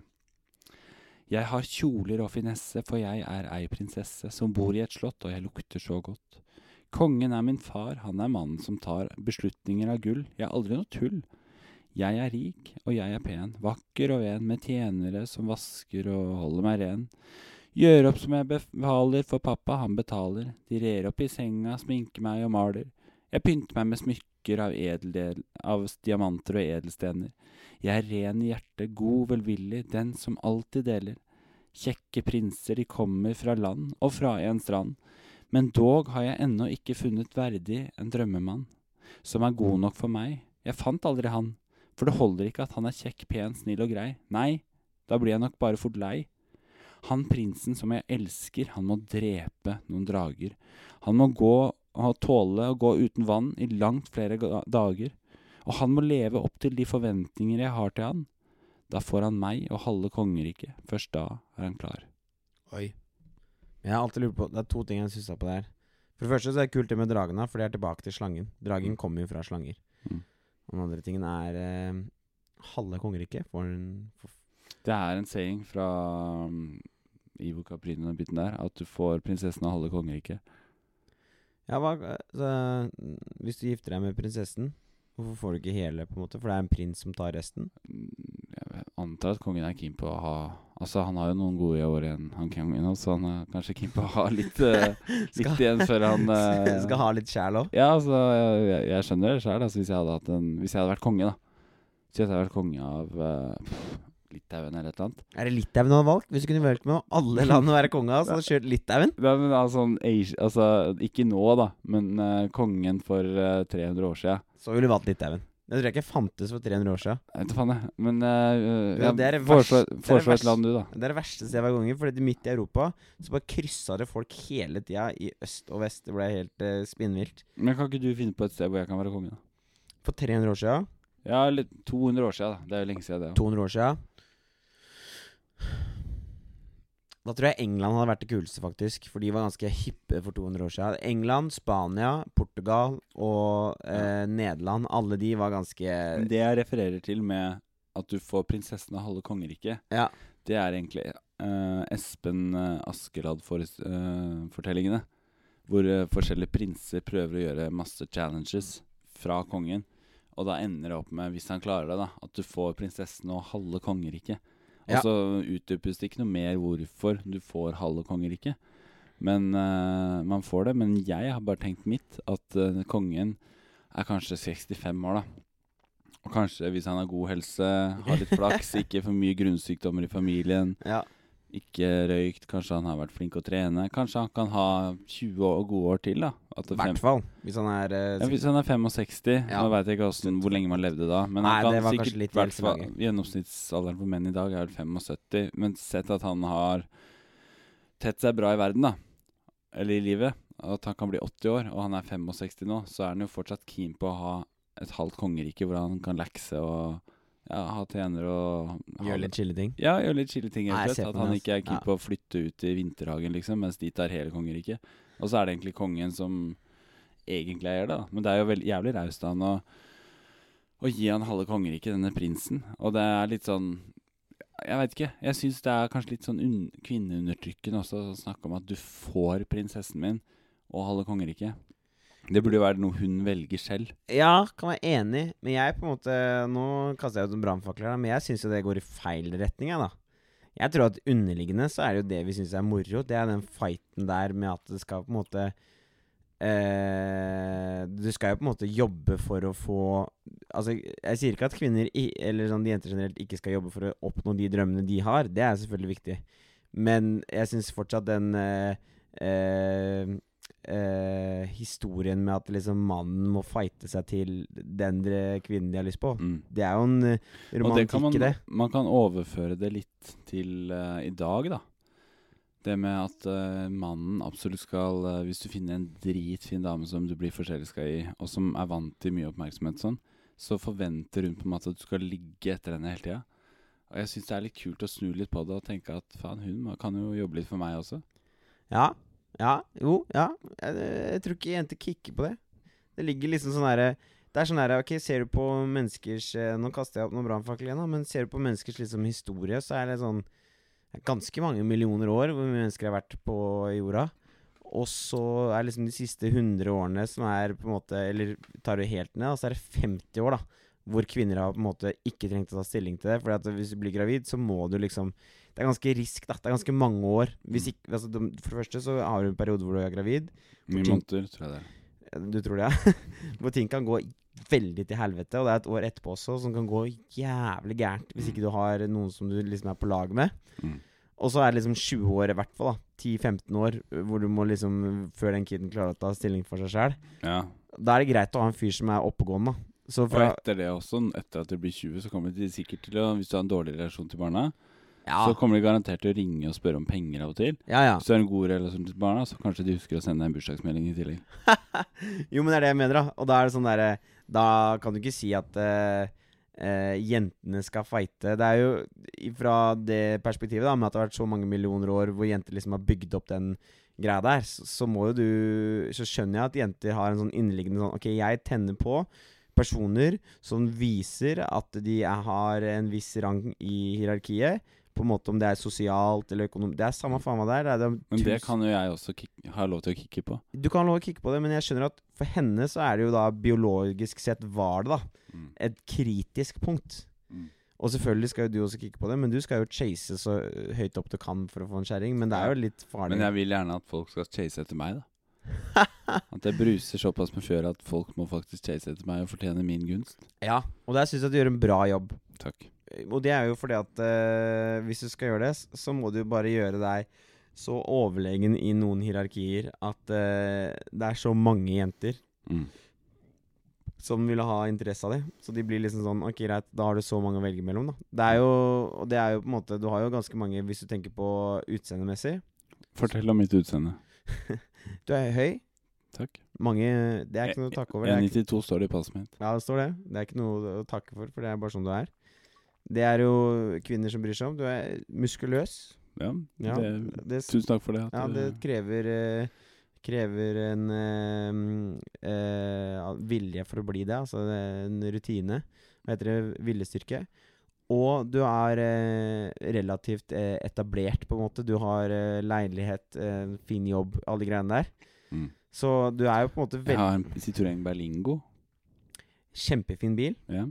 S2: Jeg har kjoler og finesse, for jeg er ei prinsesse som bor i et slott, og jeg lukter så godt. Kongen er min far, han er mannen som tar beslutninger av gull, jeg er aldri noe tull. Jeg er rik, og jeg er pen, vakker og ven, med tjenere som vasker og holder meg ren. Gjør opp som jeg befaler, for pappa han betaler, de rer opp i senga, sminker meg og maler. Jeg pynter meg med smykker av, edel, av diamanter og edelstener. Jeg er ren i hjertet, god velvillig, den som alltid deler. Kjekke prinser, de kommer fra land og fra en strand. Men dog har jeg ennå ikke funnet verdig en drømmemann, som er god nok for meg. Jeg fant aldri han, for det holder ikke at han er kjekk, pen, snill og grei. Nei, da blir jeg nok bare fort lei. Han prinsen som jeg elsker, han må drepe noen drager. Han må gå og tåle å gå uten vann i langt flere ga- dager, og han må leve opp til de forventninger jeg har til han. Da får han meg og halve kongeriket. Først da er han klar.
S1: Oi. Jeg har alltid lurt på Det er to ting jeg syns på det her. For det første så er det kult det med dragene, for de er tilbake til slangen. Dragen kommer jo fra slanger.
S2: Mm.
S1: Og den andre tingen er eh, halve kongeriket. For en for,
S2: Det er en saying fra um, Ivo Caprino og biten der, at du får prinsessen av halve kongeriket.
S1: ja, hva, så, hvis du gifter deg med prinsessen, hvorfor får du ikke hele, på en måte? For det er en prins som tar resten.
S2: Mm, Jeg antar at kongen er keen på å ha Altså, han har jo noen gode år igjen, han kongen, også, så han er kanskje keen på å ha litt, eh,
S1: Skal-
S2: litt igjen før han eh,
S1: Skal ha litt sjæl òg.
S2: Ja, altså, jeg, jeg- jeg skjønner det sjøl. Altså, hvis, jeg hadde hatt en- hvis jeg hadde vært konge, da. Så jeg hadde vært konge av eh, pff, Litauen eller et eller annet.
S1: Er det Litauen du hadde valgt? Hvis du kunne valgt med alle land å være konge av, så hadde du kjørt Litauen?
S2: Ja, men altså, en Asi- altså, ikke nå, da, men eh, kongen for eh, 300 år sia.
S1: Så ville du valgt Litauen. Det tror jeg ikke fantes for 300 år siden.
S2: Jeg vet da faen, jeg. Men eh,
S1: Ja,
S2: jeg
S1: det er det
S2: foreslår,
S1: verste- det er det
S2: foreslår et
S1: verste.
S2: land, du, da.
S1: Det er det verste stedet jeg var konge, fordi midt i Europa så bare kryssa det folk hele tida i øst og vest. Det ble helt eh, spinnvilt.
S2: Men kan ikke du finne på et sted hvor jeg kan være konge, da?
S1: For 300 år siden
S2: Ja, eller 200 år sia, da. Det er jo lenge siden, det.
S1: 200 år siden Da tror jeg England hadde vært det kuleste, faktisk. For de var ganske hippe for 200 år siden. England, Spania, Portugal og eh, Nederland. Alle de var ganske
S2: Men det jeg refererer til med at du får prinsessen av halve kongeriket,
S1: Ja.
S2: det er egentlig eh, Espen eh, Askeladd-fortellingene. hvor eh, forskjellige prinser prøver å gjøre masse challenges fra kongen. Og da ender det opp med, hvis han klarer det, da at du får prinsessen og halve kongeriket. Og
S1: Ja.
S2: så utdypes det ikke noe mer hvorfor du får halve kongeriket. Men eh, man får det. Men jeg har bare tenkt mitt, at eh, kongen er kanskje 65 år, da. Og kanskje, hvis han har god helse, har litt flaks, ikke for mye grunnsykdommer i familien,
S1: ja.
S2: ikke røykt, kanskje han har vært flink å trene. Kanskje han kan ha 20 år, gode år til, da. At
S1: I
S2: det
S1: hvert
S2: fem,
S1: fall. Hvis han er eh,
S2: ja, hvis han er 65,
S1: Ja.
S2: nå veit jeg ikke hvordan, hvor lenge man levde da. Men
S1: Nei,
S2: han
S1: det var
S2: kan
S1: kanskje
S2: sikkert
S1: litt
S2: hvert fall-
S1: helselaget.
S2: Gjennomsnittsalderen for menn i dag er vel 75. Men sett at han har tett seg bra i verden, da. Eller i livet. At han kan bli 80 år, og han er 65 nå, så er han jo fortsatt keen på å ha et halvt kongerike hvor han kan lekse og ja, ha tjenere og ha
S1: gjør litt chille ting.
S2: ja, gjør litt chille ting,
S1: Nei, jeg ser
S2: rett og slett.
S1: på
S2: At
S1: den,
S2: han
S1: altså.
S2: ikke er keen
S1: Ja.
S2: på å flytte ut i vinterhagen, liksom, mens de tar hele kongeriket. Og så er det egentlig kongen som egentlig eier det, da. Men det er jo veldig jævlig raust av han å, å gi han halve kongeriket, denne prinsen. Og det er litt sånn Jeg veit ikke. Jeg syns det er kanskje litt sånn un kvinneundertrykkende også å snakke om at du får prinsessen min og halve kongeriket. Det burde jo være noe hun velger selv.
S1: Ja, kan være enig, men jeg på en måte Nå kaster jeg ut en brannfakler, her, men jeg syns jo det går i feil retning, jeg, da. Jeg tror at underliggende så er det jo det vi syns er moro. Det er den fighten der med at det skal på en måte eh, Du skal jo på en måte jobbe for å få Altså, jeg sier ikke at kvinner, i, eller sånn jenter generelt, ikke skal jobbe for å oppnå de drømmene de har. Det er selvfølgelig viktig. Men jeg syns fortsatt den eh, eh, eh, historien med at liksom mannen må fighte seg til den dre- kvinnen de har lyst på.
S2: Mm.
S1: Det er jo en eh,
S2: Og det
S1: romantikk
S2: kan man,
S1: i det.
S2: Man kan overføre det litt til eh, i dag, da. Det med at eh, mannen absolutt skal eh, Hvis du finner en dritfin dame som du blir forelska i, og som er vant til mye oppmerksomhet, og sånn, så forventer hun på en måte at du skal ligge etter henne hele tida. Og jeg syns det er litt kult å snu litt på det og tenke at faen, hun må- kan jo jobbe litt for meg også.
S1: Ja. Ja. Jo. Ja. Jeg, jeg tror ikke jenter kicker på det. Det ligger liksom sånn herre det er sånn her, ok, Ser du på menneskers eh, Nå kaster jeg opp noen brannfakler igjen, da, men ser du på menneskers liksom historie, så er det sånn det er ganske mange millioner år hvor mye mennesker har vært på jorda. Og så er liksom de siste 100 årene som er på en måte Eller tar du helt ned, da, så er det 50 år, da. Hvor kvinner har på en måte ikke trengt å ta stilling til det. Fordi at hvis du blir gravid, så må du liksom Det er ganske risk, da. Det er ganske mange år. Hvis ikke, altså, de- for det første så har du en periode hvor du er gravid.
S2: Hvor mye
S1: ting-
S2: måneder, tror jeg det er.
S1: Du tror det, ja? Hvor ting kan gå veldig til helvete, og det er et år etterpå også som kan gå jævlig gærent hvis ikke du har noen som du liksom er på lag med.
S2: Mm.
S1: Og så er det liksom 20 år i hvert fall, da. 10-15 år hvor du må liksom Før den kiden klarer å ta stilling for seg sjæl.
S2: Ja.
S1: Da er det greit å ha en fyr som er oppegående, da. Så
S2: Og
S1: fra
S2: etter det også, etter at du blir 20, så kommer de sikkert til å Hvis du har en dårlig relasjon til barna,
S1: Ja,
S2: så kommer de garantert til å ringe og spørre om penger av og til.
S1: ja. ja.
S2: Hvis du har en god relasjon til barna, så kanskje de husker å sende deg en bursdagsmelding i tillegg.
S1: Jo, men det er det jeg mener, da. Og da er det sånn derre Da kan du ikke si at eh, eh, jentene skal fighte. Det er jo fra det perspektivet, da, med at det har vært så mange millioner år hvor jenter liksom har bygd opp den greia der, så, så må jo du Så skjønner jeg at jenter har en sånn inneliggende sånn Ok, jeg tenner på personer som viser at de er, har en viss rang i hierarkiet. På en måte om det er sosialt eller økonomisk Det er samme faen meg der. Det er, det er
S2: Men det
S1: tusen-
S2: kan jo jeg også kick- ha lov til å kikke på.
S1: du kan ha lov å kikke på det, men jeg skjønner at for henne så er det jo da biologisk sett var det da
S2: Mm.
S1: et kritisk punkt.
S2: Mm.
S1: Og selvfølgelig skal jo du også kikke på det, men du skal jo chase så ø, høyt opp du kan for å få en kjerring. Men det er jo litt farlig.
S2: Men jeg vil gjerne at folk skal chase etter meg, da. At jeg bruser såpass med fjøra at folk må faktisk chase etter meg og fortjene min gunst.
S1: Ja, og der syns jeg at du gjør en bra jobb.
S2: Takk.
S1: Og det er jo fordi at ø, hvis du skal gjøre det, s- så må du jo bare gjøre deg så overlegen i noen hierarkier at ø, det er så mange jenter
S2: Mm.
S1: som ville ha interesse av det. Så de blir liksom sånn Ok, greit, da har du så mange å velge mellom, da. Det er jo Og det er jo på en måte Du har jo ganske mange, hvis du tenker på utseendemessig.
S2: Fortell om mitt utseende.
S1: Du er høy.
S2: Takk.
S1: Mange Det er ikke noe å takke over. Det er ikke,
S2: 1,92 E står det i passet mitt.
S1: ja, det står det. Det er ikke noe å takke for, for det er bare sånn du er. Det er jo kvinner som bryr seg om. Du er muskuløs.
S2: Ja,
S1: Ja,
S2: det,
S1: det,
S2: tusen takk for det. at
S1: ja,
S2: du-
S1: det krever eh, Krever en eh, mm, eh, ja, vilje for å bli det. Altså det er en rutine. Hva heter det? Viljestyrke. Og du er eh, relativt eh, etablert, på en måte. Du har eh, leilighet, eh, fin jobb, alle de greiene der.
S2: Mm.
S1: Så du er jo på en måte
S2: Jeg
S1: veldig
S2: har en Citroën Berlingo.
S1: Kjempefin bil.
S2: Ja.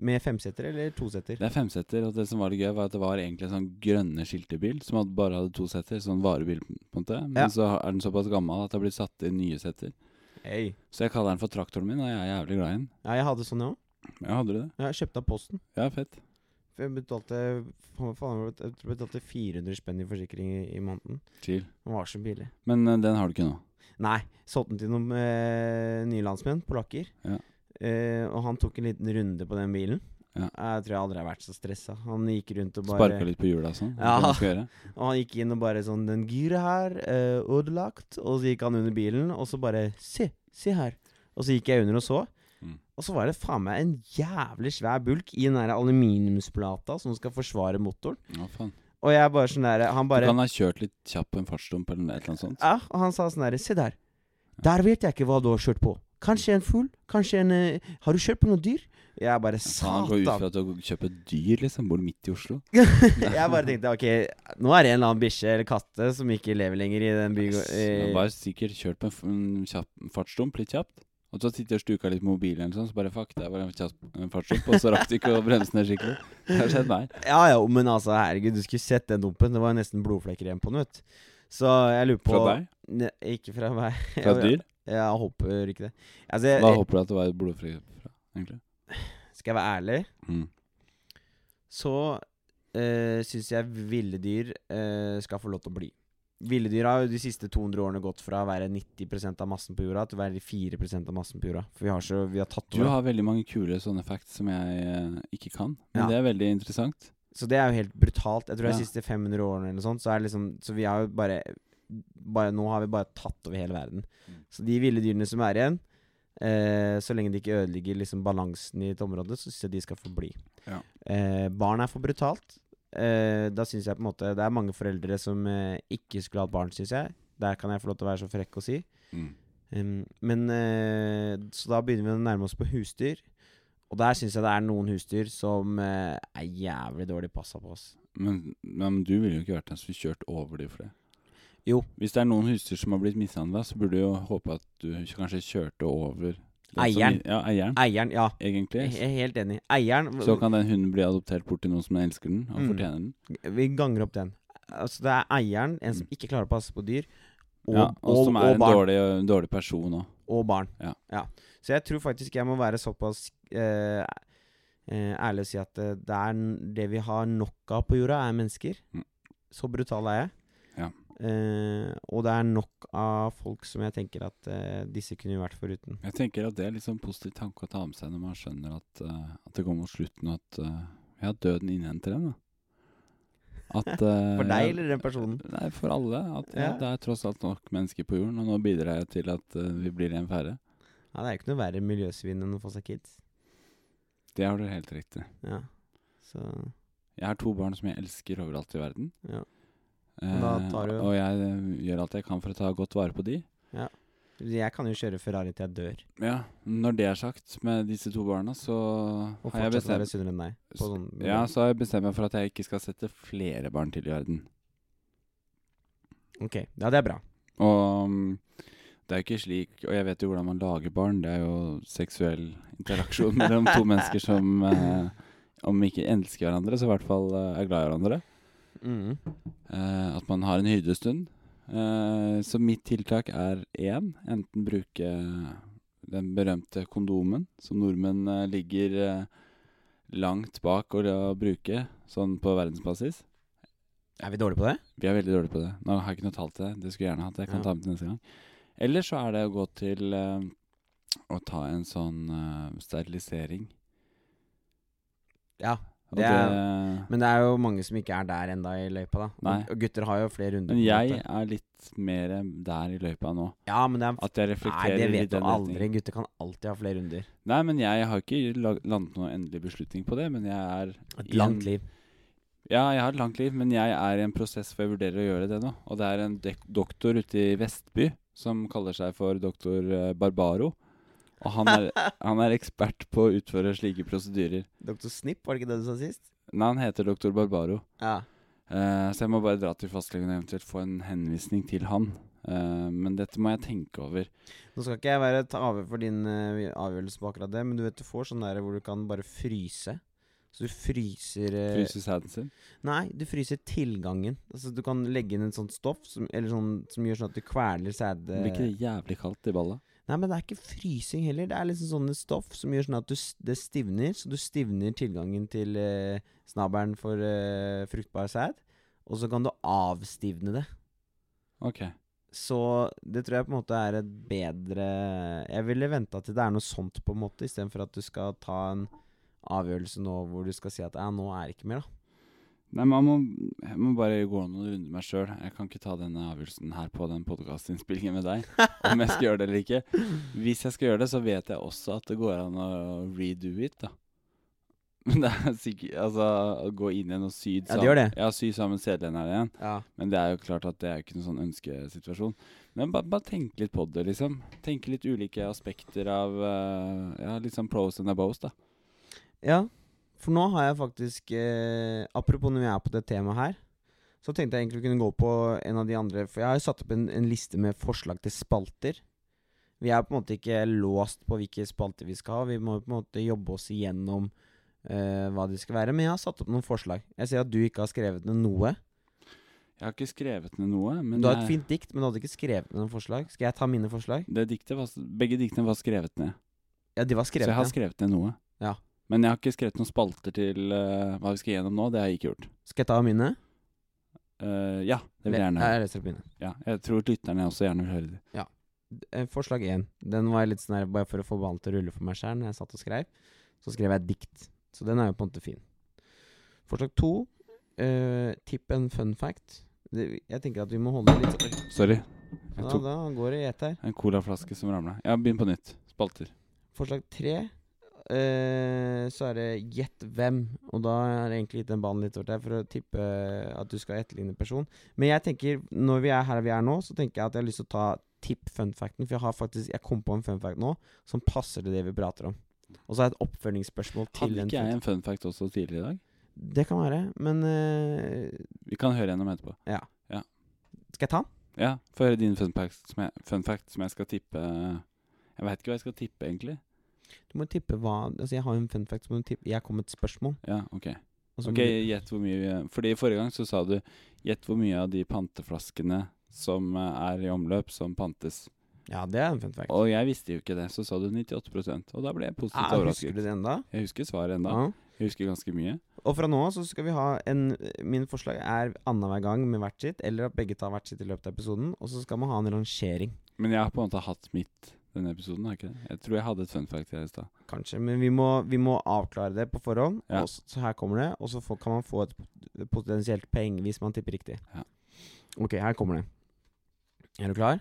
S1: Med femseter eller toseter?
S2: Det er femsetter, og det som var det gøy, var at det var egentlig en sånn grønne skiltebil som hadde bare hadde to setter, sånn varebil på en måte. Men
S1: Ja.
S2: så er den såpass gammel at det har blitt satt inn nye setter.
S1: Hey.
S2: Så jeg kaller den for traktoren min, og jeg er jævlig glad i den.
S1: Ja, jeg hadde sånn, jeg òg.
S2: Ja, hadde du det?
S1: Jeg kjøpte av Posten.
S2: Ja, fett.
S1: For jeg betalte, faen, faen, jeg bet- jeg betalte 400 spenn i forsikring i, i måneden.
S2: Chill.
S1: Den var så billig.
S2: Men eh, den har du ikke nå.
S1: Nei, solgte den til noen eh, nye landsmenn, polakker.
S2: Ja.
S1: Eh, og han tok en liten runde på den bilen.
S2: Ja.
S1: Jeg tror jeg aldri har vært så stressa. Han gikk rundt og bare
S2: Sparka litt på hjula og sånn.
S1: Ja.
S2: hva man skal gjøre.
S1: Og han gikk inn og bare sånn Den giret her, eh, ødelagt. Og så gikk han under bilen, og så bare Se, se her. Og så gikk jeg under og så.
S2: Mm.
S1: Og så var det faen meg en jævlig svær bulk i den der aluminiumsplata som skal forsvare motoren.
S2: Å, faen.
S1: Og jeg bare sånn der Han
S2: Du
S1: bare
S2: kan ha kjørt litt kjapt på en fartsdump eller et eller annet sånt.
S1: Ja, og han sa sånn der Se der. Der vet jeg ikke hva du har kjørt på. Kanskje en fugl? Kanskje en eh, Har du kjørt på noe dyr? Jeg bare
S2: Faen, han går ut
S1: Satan.
S2: fra at du kjøper dyr, liksom. Bor midt i Oslo.
S1: jeg bare tenkte ok, nå er det en eller annen bikkje eller katte som ikke lever lenger i den byen.
S2: Han var sikkert kjørt på en f- en kjapp fartsdump litt kjapt. Og så sitter jeg og stuker litt på mobilen, eller sånn, så bare fuck, der var en kjapp en fartsdump. Og så rakk de ikke å bremse ned skikkelig. Det har skjedd meg.
S1: Ja, ja, men altså, herregud, du skulle sett den dumpen. Det var nesten blodflekker igjen på den, vet du. Så jeg lurer på
S2: Fra deg?
S1: Ne, ikke fra meg.
S2: Fra et
S1: Jeg-
S2: dyr?
S1: Jeg håper ikke det. Altså, jeg,
S2: Hva håper du at det var blodfri fra, egentlig?
S1: skal jeg være ærlig,
S2: Mm.
S1: så uh, syns jeg ville dyr eh, skal få lov til å bli. Ville dyr har jo de siste 200 årene gått fra å være 90 av massen på jorda til å være 4 av massen på jorda. For vi har, så, vi har tatt
S2: Du
S1: over.
S2: har veldig mange kule sånne facts som jeg eh, ikke kan, men
S1: Ja.
S2: det er veldig interessant.
S1: Så det er jo helt brutalt. Jeg tror de
S2: Ja.
S1: siste 500 årene eller noe sånt, så er det liksom Så vi har jo bare, bare Nå har vi bare tatt over hele verden.
S2: Mm.
S1: Så de ville dyrene som er igjen, eh, så lenge de ikke ødelegger liksom balansen i et område, så syns jeg de skal få bli.
S2: Ja.
S1: Eh, barn er for brutalt. Eh, da syns jeg på en måte Det er mange foreldre som eh, ikke skulle hatt barn, syns jeg. Der kan jeg få lov til å være så frekk å si. Um, men eh, Så da begynner vi å nærme oss på husdyr. Og der syns jeg det er noen husdyr som eh, er jævlig dårlig passa på oss.
S2: Men, men du ville jo ikke vært den som kjørt over dem for det.
S1: Jo.
S2: Hvis det er noen husdyr som har blitt mishandla, så burde du jo håpe at du kanskje kjørte over den som-
S1: Eieren. E-
S2: Ja, eieren,
S1: Eieren, ja.
S2: egentlig.
S1: Jeg er helt enig. Eieren
S2: Så kan den hunden bli adoptert bort til noen som elsker den og
S1: Mm.
S2: fortjener den.
S1: Vi ganger opp den. Altså Det er eieren, en som ikke klarer å passe på dyr, og,
S2: ja, og,
S1: og,
S2: som
S1: og,
S2: er en
S1: barn,
S2: dårlig, en dårlig person òg.
S1: og barn.
S2: Ja.
S1: Så jeg tror faktisk jeg må være såpass eh, eh, ærlig å si at eh, det, er, n- det vi har nok av på jorda, er mennesker.
S2: Mm.
S1: Så brutal er jeg.
S2: Ja.
S1: Eh, og det er nok av folk som jeg tenker at eh, disse kunne vi vært foruten.
S2: Jeg tenker at det er litt sånn positiv tanke å ta med seg når man skjønner at, eh, at det kommer mot slutten, og at eh, ja, døden innhenter en. Da. At, eh,
S1: For deg eller den personen?
S2: Nei, for alle. At ja.
S1: Ja.
S2: det er tross alt nok mennesker på jorden, og nå bidrar jeg til at eh, vi blir en færre.
S1: Ja, det er jo ikke noe verre miljøsvinn enn å få seg kids.
S2: Det har du helt riktig.
S1: Ja. Så
S2: Jeg har to barn som jeg elsker overalt i verden.
S1: Ja.
S2: Eh,
S1: Da tar du-
S2: Og jeg eh, gjør alt jeg kan for å ta godt vare på de.
S1: jeg kan jo kjøre Ferrari til jeg dør,
S2: Ja, når det er sagt med disse to barna, så
S1: og
S2: har jeg
S1: fortsatt være
S2: bestemt
S1: sunnere enn deg. På sånn,
S2: ja, så har jeg bestemt meg for at jeg ikke skal sette flere barn til i verden.
S1: Ok, ja, det er bra.
S2: Og mm, det er jo ikke slik Og jeg vet jo hvordan man lager barn. Det er jo seksuell interaksjon mellom to mennesker som eh, om ikke elsker hverandre, så i hvert fall eh, er glad i hverandre.
S1: Mm.
S2: Eh, at man har en hyrdestund. Eh, så mitt tiltak er én. Enten bruke den berømte kondomen, som nordmenn eh, ligger eh, langt bak å, å bruke sånn på verdensbasis.
S1: Er vi dårlige på det?
S2: Vi er veldig dårlige på det. Nå har jeg ikke noe tall til det. Det skulle jeg gjerne hatt. Jeg kan
S1: Ja.
S2: ta med til neste gang. Eller så er det å gå til eh, å ta en sånn eh, sterilisering.
S1: Ja.
S2: Og
S1: Det
S2: det-
S1: Men det er jo mange som ikke er der enda i løypa, da. Og-
S2: Nei.
S1: Og gutter har jo flere runder.
S2: men
S1: på
S2: jeg
S1: løpet.
S2: er litt mer eh, der i løypa nå.
S1: Ja, men det er
S2: At jeg
S1: Nei,
S2: reflekterer
S1: det
S2: i
S1: vet du
S2: den retningen.
S1: aldri. Gutter kan alltid ha flere runder.
S2: Nei, men jeg har ikke lag- landet noen endelig beslutning på det, men jeg er
S1: Et
S2: i
S1: langt
S2: en-
S1: liv.
S2: Ja, jeg har et langt liv, men jeg er i en prosess hvor jeg vurderer å gjøre det nå. Og det er en dek doktor ute i Vestby som kaller seg for doktor eh, Barbaro. Og han er, han er ekspert på å utføre slike prosedyrer.
S1: Doktor Snipp, var det ikke det du sa sist?
S2: Nei, han heter doktor Barbaro.
S1: Ja.
S2: Eh, så jeg må bare dra til fastlegen og eventuelt få en henvisning til han. Eh, men dette må jeg tenke over.
S1: Nå skal ikke jeg være ta over for din eh, avgjørelse på akkurat det, men du vet du får sånn der hvor du kan bare fryse. Så du fryser eh,
S2: Fryse sæden sin.
S1: Nei, du fryser tilgangen. Altså Du kan legge inn en sånn stoff som, eller sånn, som gjør sånn at du kveler sæde...
S2: Blir ikke det jævlig kaldt i balla?
S1: Nei, men det er ikke frysing heller. Det er liksom sånne stoff som gjør sånn at du, s- det stivner. Så du stivner tilgangen til eh, snabelen for eh, fruktbar sæd. Og så kan du avstivne det.
S2: Ok.
S1: Så det tror jeg på en måte er et bedre Jeg ville venta til det er noe sånt, på en måte, istedenfor at du skal ta en avgjørelse nå hvor du skal si at ja, nå er det ikke mer, da.
S2: Nei, men jeg må, jeg må bare gå noen runder med meg sjøl. Jeg kan ikke ta denne avgjørelsen her på den podkastinnspillingen med deg. Om jeg skal gjøre det eller ikke. Hvis jeg skal gjøre det, så vet jeg også at det går an å redo it, da. Men det er sikkert Altså, å gå inn igjen og sy
S1: Ja, det gjør det.
S2: Ja, sy sammen sedlene her igjen.
S1: Ja.
S2: Men det er jo klart at det er jo ikke noen sånn ønskesituasjon. Men bare, bare tenk litt på det, liksom. Tenke litt ulike aspekter av eh, Ja, litt sånn pros and abos, da.
S1: Ja, for nå har jeg faktisk eh, Apropos når vi er på det temaet her, så tenkte jeg egentlig å kunne gå på en av de andre For jeg har jo satt opp en, en liste med forslag til spalter. Vi er på en måte ikke låst på hvilke spalter vi skal ha. Vi må jo på en måte jobbe oss igjennom eh, hva de skal være. Men jeg har satt opp noen forslag. Jeg ser at du ikke har skrevet ned noe.
S2: Jeg har ikke skrevet ned noe, men
S1: Du har et
S2: jeg-
S1: fint dikt, men du hadde ikke skrevet ned noen forslag. Skal jeg ta mine forslag?
S2: Det diktet var, begge diktene var skrevet ned.
S1: Ja, de var skrevet
S2: så jeg har
S1: ned.
S2: skrevet ned noe.
S1: Ja.
S2: Men jeg har ikke skrevet noen spalter til eh, hva vi skal gjennom nå. Det har jeg ikke gjort.
S1: Skal jeg ta mine?
S2: Eh, ja, det vil jeg
S1: Le-
S2: gjerne
S1: Nei,
S2: høre.
S1: Jeg leser opp mine.
S2: Ja, jeg tror lytterne også gjerne vil høre det.
S1: eh, forslag én. Den var jeg litt sånn her bare for å få ballen til å rulle for meg sjøl når jeg satt og skrev. Så skrev jeg et dikt. Så den er jo på en måte fin. Forslag to. eh, tipp en fun fact. Det, jeg tenker at vi må holde litt Oi,
S2: Sorry. Jeg
S1: Da,
S2: tok
S1: da går det i ett her.
S2: en colaflaske som ramla. Ja, begynn på nytt. Spalter.
S1: Forslag tre. eh, så er det 'gjett hvem', og da har jeg egentlig gitt den ballen litt over til deg for å tippe at du skal etterligne person. Men jeg tenker, når vi er her vi er nå, så tenker jeg at jeg har lyst til å ta tipp fun facten. For jeg har faktisk, jeg kom på en fun fact nå som passer til det vi prater om. Og så har jeg et oppfølgingsspørsmål til
S2: Hadde
S1: den.
S2: ikke jeg
S1: fun-
S2: en fun fact også tidligere i dag?
S1: Det kan være, men eh,
S2: Vi kan høre gjennom etterpå.
S1: Skal jeg ta den?
S2: Ja, få høre din fun fact, som jeg, fun fact som jeg skal tippe Jeg veit ikke hva jeg skal tippe, egentlig.
S1: Du må tippe hva Altså, jeg har jo en fun fact, så må du tippe Jeg kom med et spørsmål.
S2: Ja, ok.
S1: og så må
S2: Ok, gjett hvor mye vi, Fordi forrige gang så sa du Gjett hvor mye av de panteflaskene som eh, er i omløp, som pantes.
S1: du, ja, det er en fun fact.
S2: Og jeg visste jo ikke det, så sa du 98 Og da ble jeg positivt
S1: Ah, husker du Ah.
S2: overrasket.
S1: det enda?
S2: Jeg husker svaret ennå.
S1: Ja.
S2: Jeg husker ganske mye.
S1: Og fra nå av så skal vi ha en Min forslag er annenhver gang med hvert sitt, eller at begge tar hvert sitt i løpet av episoden. Og så skal man ha en rangering,
S2: Men jeg har på en måte hatt mitt denne episoden, har jeg ikke det? Jeg tror jeg hadde et fun fact her i stad.
S1: kanskje. Men vi må, vi må avklare det på forhånd.
S2: Ja.
S1: Og så, så her kommer det. Og så får- kan man få et potensielt poeng hvis man tipper riktig.
S2: Ja.
S1: Ok, her kommer det. Er du klar?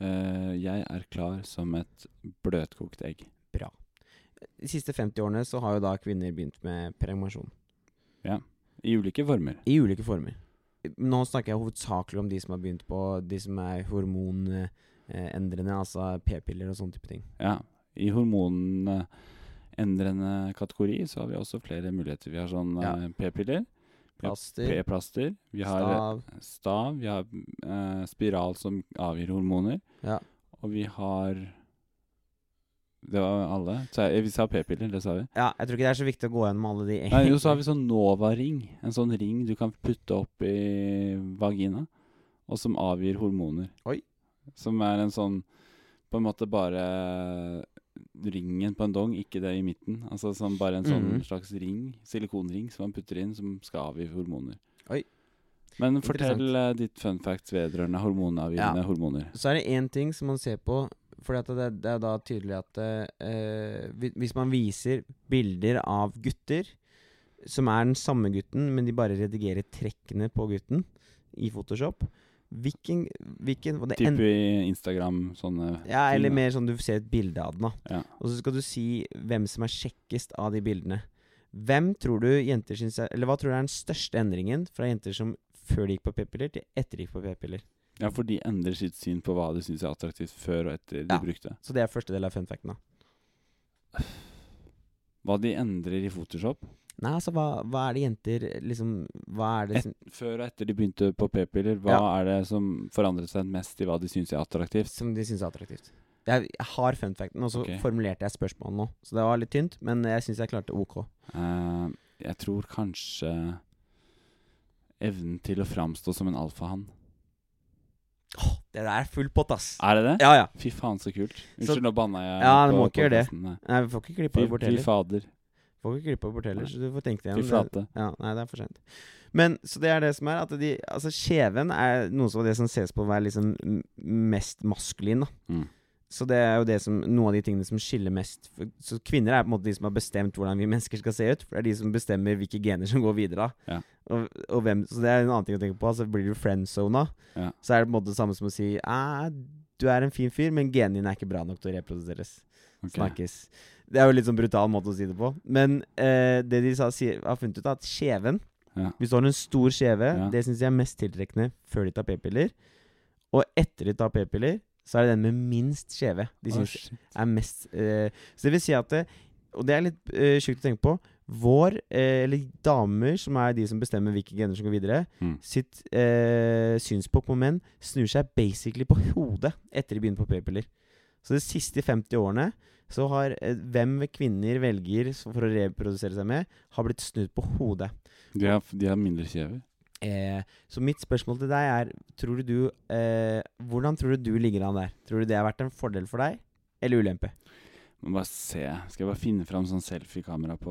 S2: Eh, jeg er klar som et bløtkokt egg.
S1: Bra. De siste 50 årene så har jo da kvinner begynt med prevensjon.
S2: I ulike former.
S1: I ulike former. Nå snakker jeg hovedsakelig om de som har begynt på de som er hormonendrende, altså p-piller og sånne type ting.
S2: Ja. I hormonendrende kategori så har vi også flere muligheter. Vi har sånn
S1: Ja.
S2: eh, p-piller,
S1: Plaster.
S2: p-plaster, vi har
S1: Stav.
S2: eh, stav, vi har eh, spiral som avgir hormoner,
S1: Ja.
S2: og vi har Det var alle. Så jeg, vi sa p-piller, det sa vi.
S1: ja, jeg tror ikke det er så viktig å gå gjennom alle de
S2: Nei, jo, så har vi sånn Nova-ring. En sånn ring du kan putte opp i vagina, og som avgir hormoner.
S1: Oi.
S2: Som er en sånn På en måte bare ringen på en dong, ikke det i midten. Altså som bare en sånn
S1: Mhm.
S2: slags ring, silikonring, som man putter inn, som skal avgi hormoner.
S1: Oi.
S2: Men fortell eh, ditt fun facts vedrørende hormonavgivende hormoner.
S1: Så er det én ting som man ser på, for det, det er da tydelig at eh, hvi- hvis man viser bilder av gutter som er den samme gutten, men de bare redigerer trekkene på gutten i Photoshop Hvilken, hvilken og det en-
S2: Typ i Instagram, sånne
S1: Ja, eller
S2: ting, da.
S1: mer sånn du ser et bilde av den, da.
S2: Ja.
S1: Og så skal du si hvem som er kjekkest av de bildene. Hvem tror du jenter syns er Eller hva tror du er den største endringen fra jenter som før de gikk på p-piller, til etter de gikk på p-piller?
S2: Ja, for de endrer sitt syn på hva de syns er attraktivt før og etter de
S1: Ja.
S2: brukte.
S1: Så det er første del av fun facten, da.
S2: Hva de endrer i Photoshop
S1: Nei, altså, hva, hva er det jenter liksom Hva er det
S2: Et-
S1: som
S2: før og etter de begynte på p-piller, hva er det som forandret seg mest i hva de syns er attraktivt?
S1: som de syns er attraktivt. Jeg jeg har fun facten, og så
S2: Ok.
S1: formulerte jeg spørsmålet nå. Så det var litt tynt, men jeg syns jeg klarte OK.
S2: Eh, jeg tror kanskje evnen til å framstå som en alfahann.
S1: Det der er full pott, ass.
S2: Er det det?
S1: Ja, ja.
S2: Fy faen, så kult.
S1: Så-
S2: Unnskyld, nå banna jeg.
S1: Ja,
S2: på
S1: du må ikke gjøre det.
S2: podcasten. Nei.
S1: Nei, vi får ikke klippa
S2: Fy,
S1: det bort
S2: fy
S1: heller.
S2: fader.
S1: Får ikke klippa det bort heller,
S2: Nei.
S1: så du får tenke deg
S2: Fy
S1: igjen. Det-
S2: flate.
S1: Ja, nei, det er for sent. Men så det er det som er at de Altså, kjeven er noe som det som ses på å være liksom m- mest maskulin, da.
S2: Mm.
S1: Så det er jo det som noen av de tingene som skiller mest For- Så kvinner er på en måte de som har bestemt hvordan vi mennesker skal se ut. For det er de som bestemmer hvilke gener som går videre. da.
S2: Ja.
S1: Og, og hvem, så det er en annen ting å tenke på. Altså Blir du friendzona,
S2: Ja.
S1: så er det på en måte det samme som å si «Eh, du er en fin fyr, men genene dine er ikke bra nok til å reproduseres.
S2: Ok.
S1: Snakkes. Det er jo litt sånn brutal måte å si det på. Men eh, det de sa, sier, har funnet ut, er at kjeven
S2: Ja.
S1: Hvis du har en stor kjeve,
S2: Ja.
S1: det syns jeg er mest tiltrekkende før de tar p-piller. Og etter de tar p-piller, så er det den med minst kjeve de
S2: Å,
S1: syns
S2: shit.
S1: er mest eh, Så det vil si at det, Og det er litt eh, sjukt å tenke på. Vår, eh, eller damer, som er de som bestemmer hvilke gener som går videre,
S2: Mm.
S1: sitt eh, synspunkt på menn snur seg basically på hodet etter de begynner på p-piller. Så de siste 50 årene så har eh, hvem kvinner velger s- for å reprodusere seg med, har blitt snudd på hodet.
S2: De har, de har mindre kjever.
S1: Eh, så mitt spørsmål til deg er tror du, eh, Hvordan tror du du ligger an der? Tror du det har vært en fordel for deg, eller ulempe?
S2: Må bare se. Skal jeg bare finne fram sånn selfie-kamera på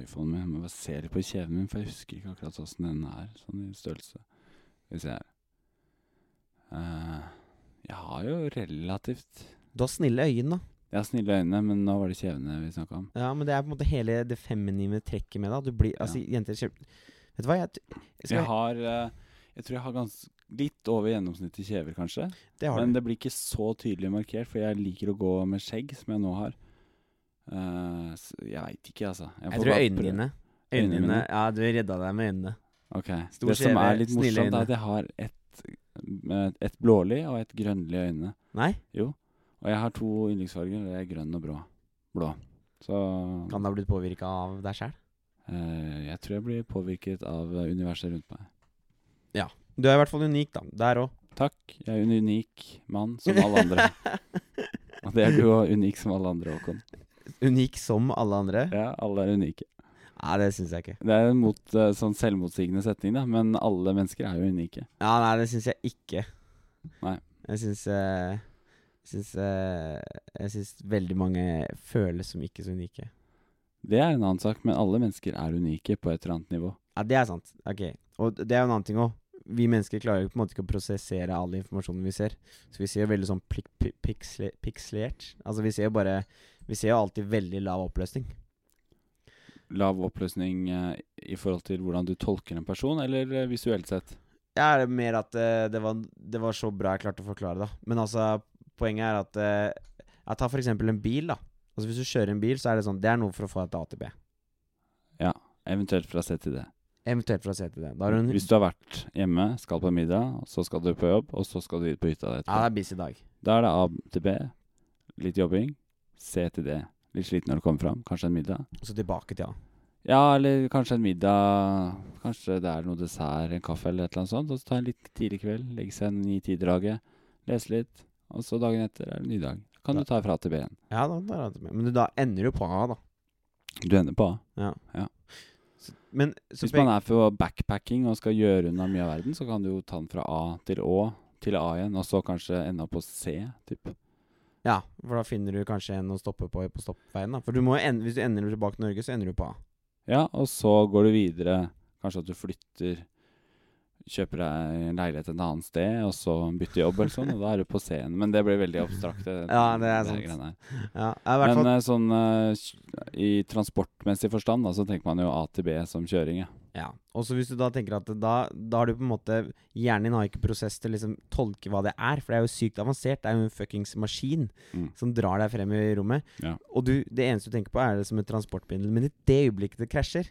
S2: iPhonen min? Må bare se litt på kjeven min, for jeg husker ikke akkurat åssen den er, sånn i størrelse. Skal vi se her. Eh, jeg har jo relativt
S1: Du har snille øyne, da.
S2: Jeg har snille øyne, men nå var det kjevene vi snakka om.
S1: Ja, men det er på en måte hele det feminine trekket med det. at Du blir,
S2: Ja.
S1: altså, jenter kjem- Vet du hva, jeg, t- skal,
S2: Jeg har eh, Jeg tror jeg har gans litt over gjennomsnittet kjever, kanskje.
S1: det har
S2: Men
S1: du.
S2: det blir ikke så tydelig markert, for jeg liker å gå med skjegg, som jeg nå har. Eh, så jeg veit ikke, altså. får
S1: Jeg tror
S2: bare
S1: øynene
S2: prøve.
S1: dine
S2: Øynene
S1: Øynene dine,
S2: mine?
S1: Ja, du redda deg med øynene.
S2: Ok,
S1: Stor
S2: Det som
S1: kjeve,
S2: er litt
S1: snille
S2: morsomt,
S1: øyne.
S2: er at jeg har et, med et blålig og et grønnlig i øynene.
S1: Nei?
S2: Og jeg har to yndlingsfarger, og det er grønn og blå. blå. Så
S1: Kan det ha blitt påvirka av deg sjæl?
S2: eh, jeg tror jeg blir påvirket av eh, universet rundt meg.
S1: Du er i hvert fall unik, da. Der òg.
S2: Takk, jeg er en unik mann som alle andre. og det er du òg, unik som alle andre, Håkon.
S1: Unik som alle andre?
S2: Ja, alle er unike.
S1: Nei, det syns jeg ikke.
S2: Det er en mot, eh, sånn selvmotsigende setning, da, men alle mennesker er jo unike.
S1: Ja, nei, det syns jeg ikke.
S2: Nei.
S1: Jeg syns eh, jeg syns, eh, jeg syns veldig mange føles som ikke så unike.
S2: Det er en annen sak, men alle mennesker er unike på et eller annet nivå.
S1: Ja, det er sant. Ok. Og det er jo en annen ting òg. Vi mennesker klarer jo på en måte ikke å prosessere all informasjonen vi ser. Så vi ser jo veldig sånn plik, pi- piksle, pikslert. Altså, vi ser jo bare Vi ser jo alltid veldig lav oppløsning.
S2: lav oppløsning eh, i forhold til hvordan du tolker en person, eller eh, visuelt sett?
S1: Ja, det er mer at eh, det, var, det var så bra jeg klarte å forklare det. da. Men altså, poenget er at eh, Jeg tar for eksempel en bil, da. Altså Hvis du kjører en bil, så er det sånn Det er noe for å få deg til A til B.
S2: Eventuelt fra C til D.
S1: Eventuelt fra C til D. Da har du en
S2: Hvis du har vært hjemme, skal på middag, så skal du på jobb, og så skal du ut på hytta
S1: Ja, det
S2: etterpå.
S1: er busy dag.
S2: Da er det A til B, litt jobbing, C til D. Litt sliten når du kommer fram, kanskje en middag.
S1: Og så tilbake til A.
S2: Ja, eller kanskje en middag, kanskje det er noe dessert, en kaffe eller et eller annet sånt, og så ta en litt tidlig kveld, legge seg en i tidraget, lese litt, og så dagen etter er det en ny dag. Kan du ta fra A til B igjen.
S1: Ja, da, da er det Men du, da ender du på A, da.
S2: Du ender på A.
S1: Så, men så
S2: Hvis man er på backpacking og skal gjøre unna mye av verden, så kan du jo ta den fra A til Å til A igjen, og så kanskje enda på C. Typ.
S1: Ja, for da finner du kanskje en å stoppe på på stoppveien. da For du må jo ende, hvis du ender tilbake til Norge, så ender du på A.
S2: Ja, og så går du videre. Kanskje at du flytter, kjøper deg en leilighet et annet sted, og så bytter jobb eller sånn, og da er du på C igjen. Men det blir veldig abstrakt.
S1: Ja, det er sant.
S2: greiene her.
S1: Ja, i hvert
S2: Men
S1: fall
S2: eh, sånn eh, i transportmessig forstand, da, så tenker man jo A til B som kjøring, ja.
S1: Ja. Og så hvis du da tenker at da, da har du på en måte Hjernen din har ikke prosess til å liksom tolke hva det er, for det er jo sykt avansert. Det er jo en fuckings maskin
S2: Mm.
S1: som drar deg frem i rommet.
S2: Ja.
S1: Og du, det eneste du tenker på, er det som et transportmiddel. Men i det øyeblikket det krasjer,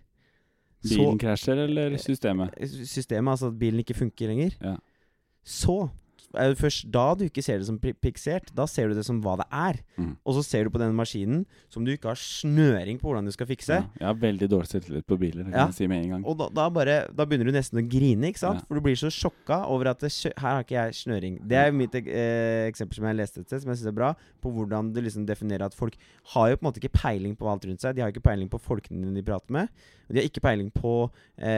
S1: så
S2: Bilen krasjer, eller systemet?
S1: Systemet, altså at bilen ikke funker lenger,
S2: Ja.
S1: så er det først da du ikke ser det som pri- piksert. Da ser du det som hva det er.
S2: Mm.
S1: Og så ser du på denne maskinen som du ikke har snøring på hvordan du skal fikse.
S2: Ja, jeg har veldig dårlig selvtillit på biler, det kan
S1: Ja.
S2: jeg si med en gang.
S1: Og da, da, bare, da begynner du nesten å grine, ikke sant?
S2: Ja.
S1: For du blir så sjokka over at det, skjø- her har ikke jeg snøring. Det er mitt ek- eh, eksempel som jeg leste et sted, som jeg syns er bra, på hvordan du liksom definerer at folk har jo på en måte ikke peiling på alt rundt seg. De har ikke peiling på folkene de prater med, og de har ikke peiling på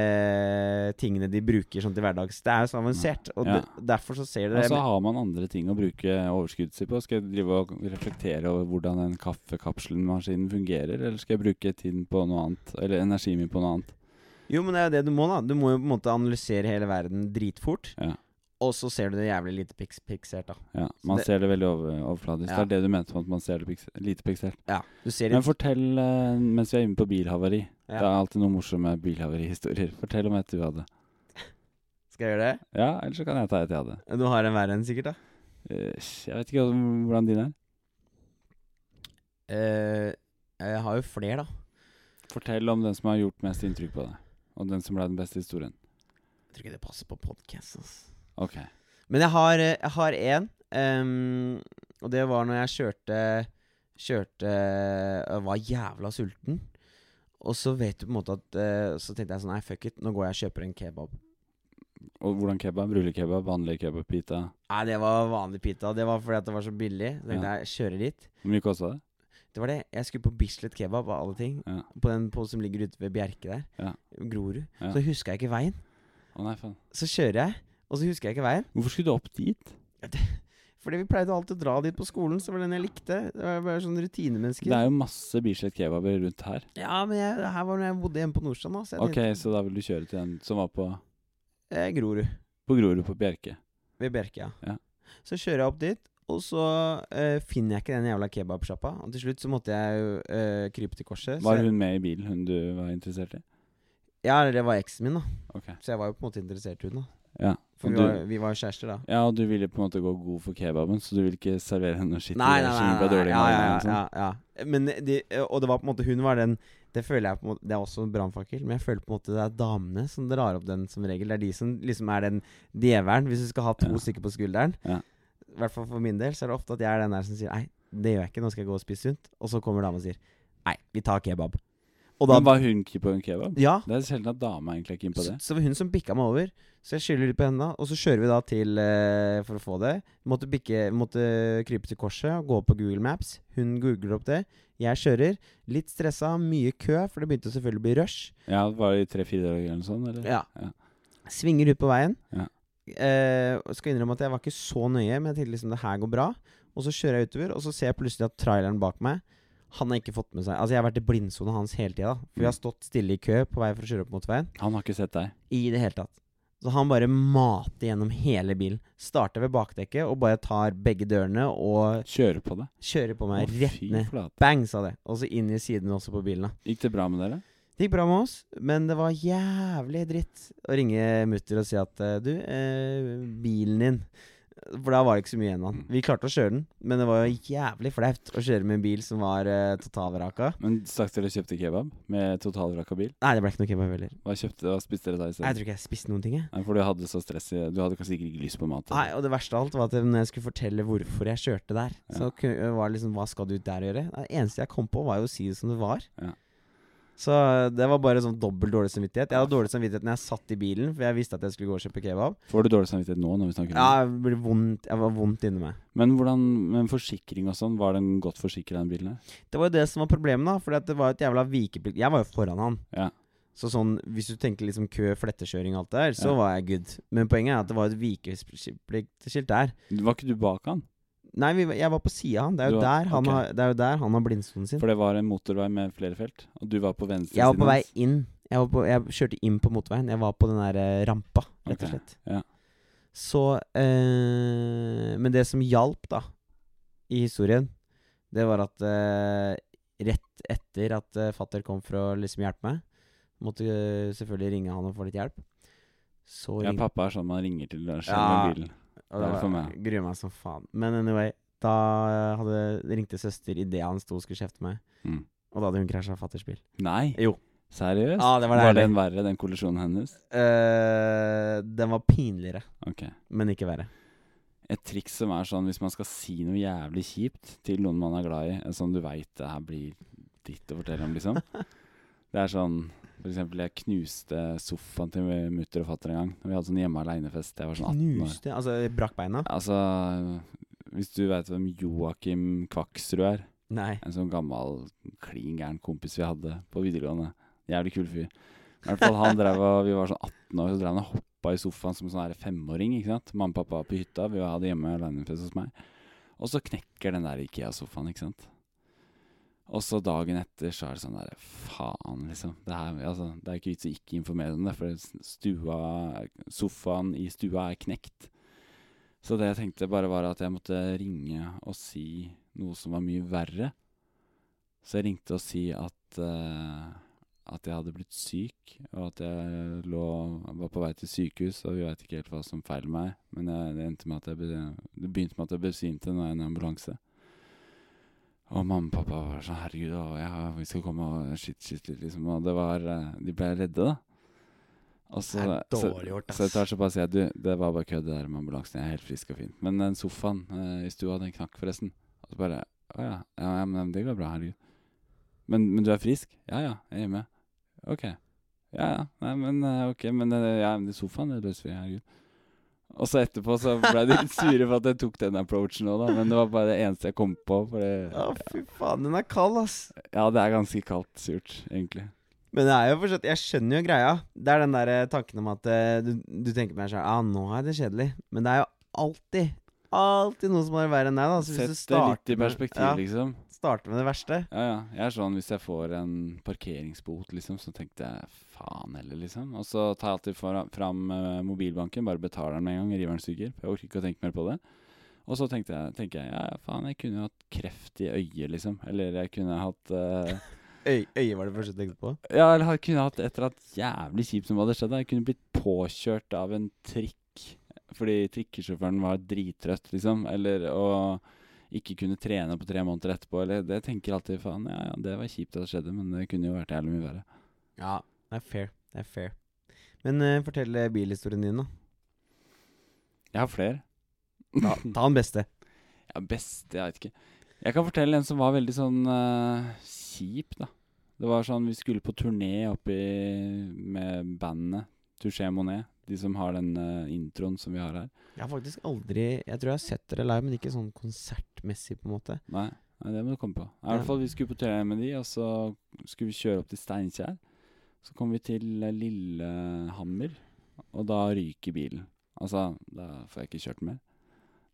S1: eh, tingene de bruker sånn til hverdags. Det er jo så avansert, og
S2: Mm. Ja.
S1: de, derfor så ser
S2: Og
S1: dere
S2: så Altså, har man andre ting å bruke overskuddet sitt på. Skal jeg drive og reflektere over hvordan den kaffekapselmaskinen fungerer, eller skal jeg bruke tiden på noe annet? Eller energien min på noe annet?
S1: Jo, men det er jo det du må, da. Du må jo på en måte analysere hele verden dritfort,
S2: Ja.
S1: og så ser du det jævlig lite piks piksert, da.
S2: Ja, man
S1: det-
S2: ser det veldig over, overfladisk.
S1: Ja.
S2: Det er det du mente med at man ser det pikse- lite piksert.
S1: Ja. Du ser
S2: Men
S1: det
S2: fortell, eh, mens vi er inne på bilhavari
S1: Ja.
S2: Det er alltid noen morsomme bilhavarihistorier. Fortell om et du hadde.
S1: Skal jeg gjøre det?
S2: Ja, eller så kan jeg ta et jeg hadde.
S1: Du har en verre en, sikkert, da?
S2: Eh, Jeg vet ikke om- hvordan din er.
S1: Eh, jeg har jo flere, da.
S2: Fortell om den som har gjort mest inntrykk på deg. Og den som ble den beste historien.
S1: Jeg tror ikke det passer på podkast. Altså.
S2: Ok.
S1: Men jeg har, eh, jeg har én, ehm, og det var når jeg kjørte Kjørte og var jævla sulten. Og så vet du på en måte at eh, Så tenkte jeg sånn Nei, fuck it, nå går jeg og kjøper en kebab.
S2: Og hvordan kebab? Rullekebab, vanlig kebab, pita?
S1: Nei, det var vanlig pita. Det var fordi at det var så billig. Så tenkte
S2: Ja.
S1: jeg, jeg kjører dit.
S2: Hvor mye kosta det?
S1: Det var det. Jeg skulle på Bislett kebab av alle ting.
S2: Ja.
S1: På den på, som ligger ute ved Bjerke der.
S2: Ja.
S1: Grorud.
S2: Ja.
S1: Så huska jeg ikke veien.
S2: Å nei, faen.
S1: Så kjører jeg, og så husker jeg ikke veien.
S2: Hvorfor skulle du opp dit?
S1: Fordi vi pleide alltid å dra dit på skolen, så var det den jeg likte. Det var bare sånn
S2: Det
S1: rutinemennesker.
S2: er jo masse Bislett kebaber rundt her.
S1: Ja, men jeg, det her var når jeg bodde hjemme på Nordstrand, da, så jeg
S2: Ok, så da vil du kjøre til den som var på,
S1: tenkte eh, Grorud.
S2: på Grorud på Bjerke.
S1: Ved Bjerke, ja.
S2: Ja.
S1: Så kjører jeg opp dit, og så eh, finner jeg ikke den jævla kebabsjappa. Og til slutt så måtte jeg jo eh, krype til korset. så
S2: Var
S1: jeg-
S2: hun med i bilen, hun du var interessert i?
S1: Ja, eller det var eksen min, da.
S2: Ok.
S1: Så jeg var jo på en måte interessert i henne. da.
S2: Ja.
S1: For
S2: Og
S1: vi
S2: du,
S1: var, vi var jo kjærester da.
S2: ja, og du ville på en måte gå god for kebaben, så du ville ikke servere henne noe skitt?
S1: Nei, nei,
S2: eller som
S1: nei,
S2: ble
S1: nei,
S2: dårlig liksom. i
S1: ja,
S2: magen
S1: ja, ja,
S2: eller noe sånt.
S1: ja, ja. Men de, og det var på en måte Hun var den Det føler jeg på en måte Det er også en brannfakkel, men jeg føler på en måte det er damene som drar opp den som regel. Det er de som liksom er den djevelen, hvis du skal ha to
S2: Ja.
S1: stykker på skulderen. I
S2: Ja.
S1: hvert fall for min del så er det ofte at jeg er den der som sier Nei, det gjør jeg ikke, nå skal jeg gå og spise sunt. Og så kommer dama og sier Nei, vi tar kebab. Og da
S2: Men var hun keen på en kebab?
S1: Ja.
S2: Det er sjelden at dama egentlig er keen på
S1: Så,
S2: det.
S1: så var hun som bikka meg over. Så jeg skylder litt på henne, da. Og så kjører vi da til eh, for å få det. Måtte, bikke, måtte krype til korset og gå på Google Maps. Hun googler opp det. Jeg kjører. Litt stressa, mye kø, for det begynte selvfølgelig å bli rush.
S2: Ja, Var det i tre-fire dager eller noe sånt? Eller?
S1: Ja. Svinger ut på veien.
S2: Ja.
S1: Eh, og skal innrømme at jeg var ikke så nøye, men jeg tenkte liksom det her går bra. Og så kjører jeg utover, og så ser jeg plutselig at traileren bak meg han har ikke fått med seg Altså, jeg har vært i blindsona hans hele tida. da. For vi har stått stille i kø på vei for å kjøre opp mot veien.
S2: Han har ikke sett deg.
S1: I det hele tatt. Så han bare mater gjennom hele bilen. Starter ved bakdekket og bare tar begge dørene og
S2: Kjører på det.
S1: kjører på
S2: Å,
S1: meg rett
S2: fy
S1: ned.
S2: flate.
S1: Bang, sa det. Og så inn i sidene også på bilen. da.
S2: Gikk det bra med dere?
S1: Det gikk bra med oss, men det var jævlig dritt å ringe mutter og si at eh, du, eh, bilen din For da var det ikke så mye igjen av
S2: Mm.
S1: den. Vi klarte å kjøre den, men det var jo jævlig flaut å kjøre med en bil som var eh, totalvraka.
S2: Men Stakk dere og kjøpte kebab med totalvrakka bil?
S1: Nei, det ble ikke noe kebab heller.
S2: Hva kjøpte hva spiste dere da i
S1: Jeg
S2: stedet?
S1: tror ikke jeg spiste noen ting, jeg.
S2: Nei, for du hadde så stress i Du hadde kanskje ikke lyst på mat.
S1: Nei, og det verste av alt var at når jeg skulle fortelle hvorfor jeg kjørte der, så
S2: Ja.
S1: ku- var det liksom Hva skal du ut der og gjøre? Nei, Det eneste jeg kom på, var jo å si det som det var.
S2: Ja.
S1: Så det var bare sånn dobbelt dårlig samvittighet. Jeg hadde dårlig samvittighet når jeg satt i bilen, for jeg visste at jeg skulle gå og kjøpe kebab.
S2: Får du dårlig samvittighet nå når vi snakker om
S1: Ja, jeg, ble vondt, jeg var vondt inni meg.
S2: det? Men hvordan Men forsikring og sånn, var den godt forsikra, den bilen her?
S1: Det var jo det som var problemet, da. For det var jo et jævla vikeplikt Jeg var jo foran han.
S2: Ja.
S1: Så sånn, hvis du tenker liksom kø, flettekjøring og alt det der, så
S2: Ja.
S1: var jeg good. Men poenget er at det var et vikepliktskilt der.
S2: Var ikke du bak han?
S1: Nei, vi, jeg var på sida av han. Det er jo
S2: Du var-
S1: der han
S2: ok.
S1: har, det er jo der han har blindstolen sin.
S2: For det var en motorvei med flere felt, og du var på venstre
S1: Jeg var på vei
S2: hans.
S1: inn. Jeg, var på, jeg kjørte inn på motorveien. Jeg var på den der eh, rampa, rett
S2: Ok,
S1: og slett.
S2: ja.
S1: Så eh, Men det som hjalp, da, i historien, det var at eh, rett etter at eh, fatter kom for å liksom hjelpe meg, Måtte øh, selvfølgelig ringe han og få litt hjelp. Så
S2: Ja,
S1: ring-
S2: pappa er sånn man ringer til når det skjer
S1: Ja.
S2: med bilen.
S1: og
S2: det er
S1: da
S2: for meg.
S1: Gruer meg som faen. Men anyway, da øh, hadde, ringte søster idet han sto og skulle kjefte meg.
S2: Mm.
S1: Og da hadde hun krasja fatters bil.
S2: Nei?
S1: Jo.
S2: Seriøst?
S1: Ja, Ah, det var
S2: var
S1: deilig.
S2: den verre, den kollisjonen hennes?
S1: Eh, den var pinligere,
S2: Ok.
S1: men ikke verre.
S2: Et triks som er sånn hvis man skal si noe jævlig kjipt til noen man er glad i, eh, som du veit det her blir dritt å fortelle om, liksom. Det er sånn for eksempel, jeg knuste sofaen til mutter og fatter en gang. Når vi hadde sånn hjemme aleine-fest. Jeg var sånn 18 år.
S1: Knuste Altså, brakk beina?
S2: Altså, hvis du veit hvem Joakim Kvaksrud er
S1: Nei.
S2: En sånn gammel, klin gæren kompis vi hadde på videregående. Jævlig kul fyr. I hvert fall han drev og Vi var sånn 18 år, så drev han og hoppa i sofaen som en sånn her femåring. ikke sant? Mamma og pappa var på hytta, vi hadde hjemme alenefest hos meg. Og så knekker den der Ikea-sofaen, ikke sant. Og så dagen etter så er det sånn derre Faen, liksom. Det, her, altså, det er ikke vits å ikke informere om det, for stua, sofaen i stua er knekt. Så det jeg tenkte bare var at jeg måtte ringe og si noe som var mye verre. Så jeg ringte og si at, eh, at jeg hadde blitt syk, og at jeg lå, var på vei til sykehus, og vi veit ikke helt hva som feiler meg. Men jeg, det, endte med at jeg, be- det begynte med at jeg besvimte når jeg er i en ambulanse. Og mamma og pappa var sånn Herregud, å, ja, vi skal komme og shit, shit, litt», liksom. Og det var eh, De ble redde, da. Og så,
S1: Det er
S2: så,
S1: dårlig gjort,
S2: så
S1: ass.
S2: etter hvert så bare sier jeg Du, det var bare kødd, det der med ambulansen. Jeg er helt frisk og fin. Men den sofaen eh, i stua, den knakk forresten. Og så bare Å ja. Ja, ja, men det går bra. Herregud. Men, men du er frisk? Ja ja, jeg er hjemme. Ok. Ja ja. Nei, men eh, ok, men eh, ja, men sofaen det løser vi. Herregud. Og så etterpå så ble de litt sure for at jeg tok den approachen òg, da. Men det var bare det eneste jeg kom på. For
S1: Å,
S2: det,
S1: fy faen, den er kald, ass.
S2: ja, det er ganske kaldt surt, egentlig.
S1: Men det er jo fortsatt, jeg skjønner jo greia. Det er den der eh, tanken om at eh, du, du tenker på deg sjøl ah, nå er det kjedelig. Men det er jo alltid Alltid noe som er verre enn deg. da Så
S2: Sett
S1: hvis du
S2: det litt i
S1: med,
S2: perspektiv, liksom.
S1: ja, starter med det verste
S2: Ja, ja. Jeg er sånn hvis jeg får en parkeringsbot, liksom, så tenkte jeg faen heller, liksom. Og så tar jeg alltid fra- fram eh, mobilbanken, bare betaler den med en gang, river den suger. Jeg orker ikke å tenke mer på det. Og så tenkte jeg, tenker jeg ja, ja, faen, jeg kunne jo hatt kreft i øyet, liksom. Eller jeg kunne hatt eh,
S1: Øy, Øyet var det første jeg tenkte på.
S2: Ja, eller jeg kunne hatt et eller annet jævlig kjipt som hadde skjedd. da. Jeg kunne blitt påkjørt av en trikk fordi trikkesjåføren var drittrøtt, liksom. Eller å ikke kunne trene på tre måneder etterpå. Eller det tenker jeg alltid faen, ja ja, det var kjipt at det skjedde, men det kunne jo vært jævlig mye verre.
S1: Ja, det er fair. Det er fair Men eh, fortell eh, bilhistorien din, da.
S2: Jeg har flere.
S1: Ta, ta den beste.
S2: Ja, beste, jeg veit ikke. Jeg kan fortelle en som var veldig sånn eh, kjip, da. Det var sånn, Vi skulle på turné oppi med bandet Touché Monet. De som har den eh, introen som vi har her.
S1: Jeg har faktisk aldri Jeg tror jeg har sett dere live, men ikke sånn konsertmessig, på en måte.
S2: Nei, nei, det må du komme på. I
S1: Ja.
S2: hvert fall Vi skulle på turné med de, og så skulle vi kjøre opp til Steinkjer. Så kom vi til eh, Lillehammer, og da ryker bilen. Altså, da får jeg ikke kjørt mer.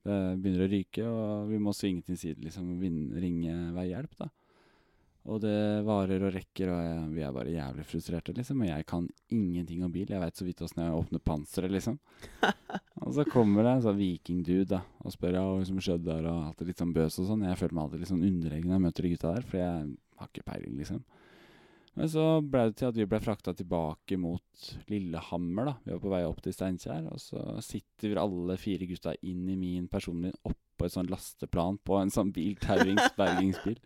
S2: Det begynner å ryke, og vi må svinge til side, liksom, og vin- ringe hver hjelp, da. Og det varer og rekker, og jeg, vi er bare jævlig frustrerte, liksom. Og jeg kan ingenting om bil. Jeg veit så vidt åssen jeg åpner panseret, liksom. Og så kommer det en sånn vikingdude da, og spør ja, hva som skjedde der, og alltid litt sånn bøs og sånn. Jeg føler meg alltid litt sånn underlegen når jeg møter de gutta der, for jeg har ikke peiling, liksom. Men så ble det til at vi ble frakta tilbake mot Lillehammer, da. Vi var på vei opp til Steinkjer, og så sitter alle fire gutta inn i min personlig oppå et sånn lasteplan på en sånn bil, terrings, bergingsbil.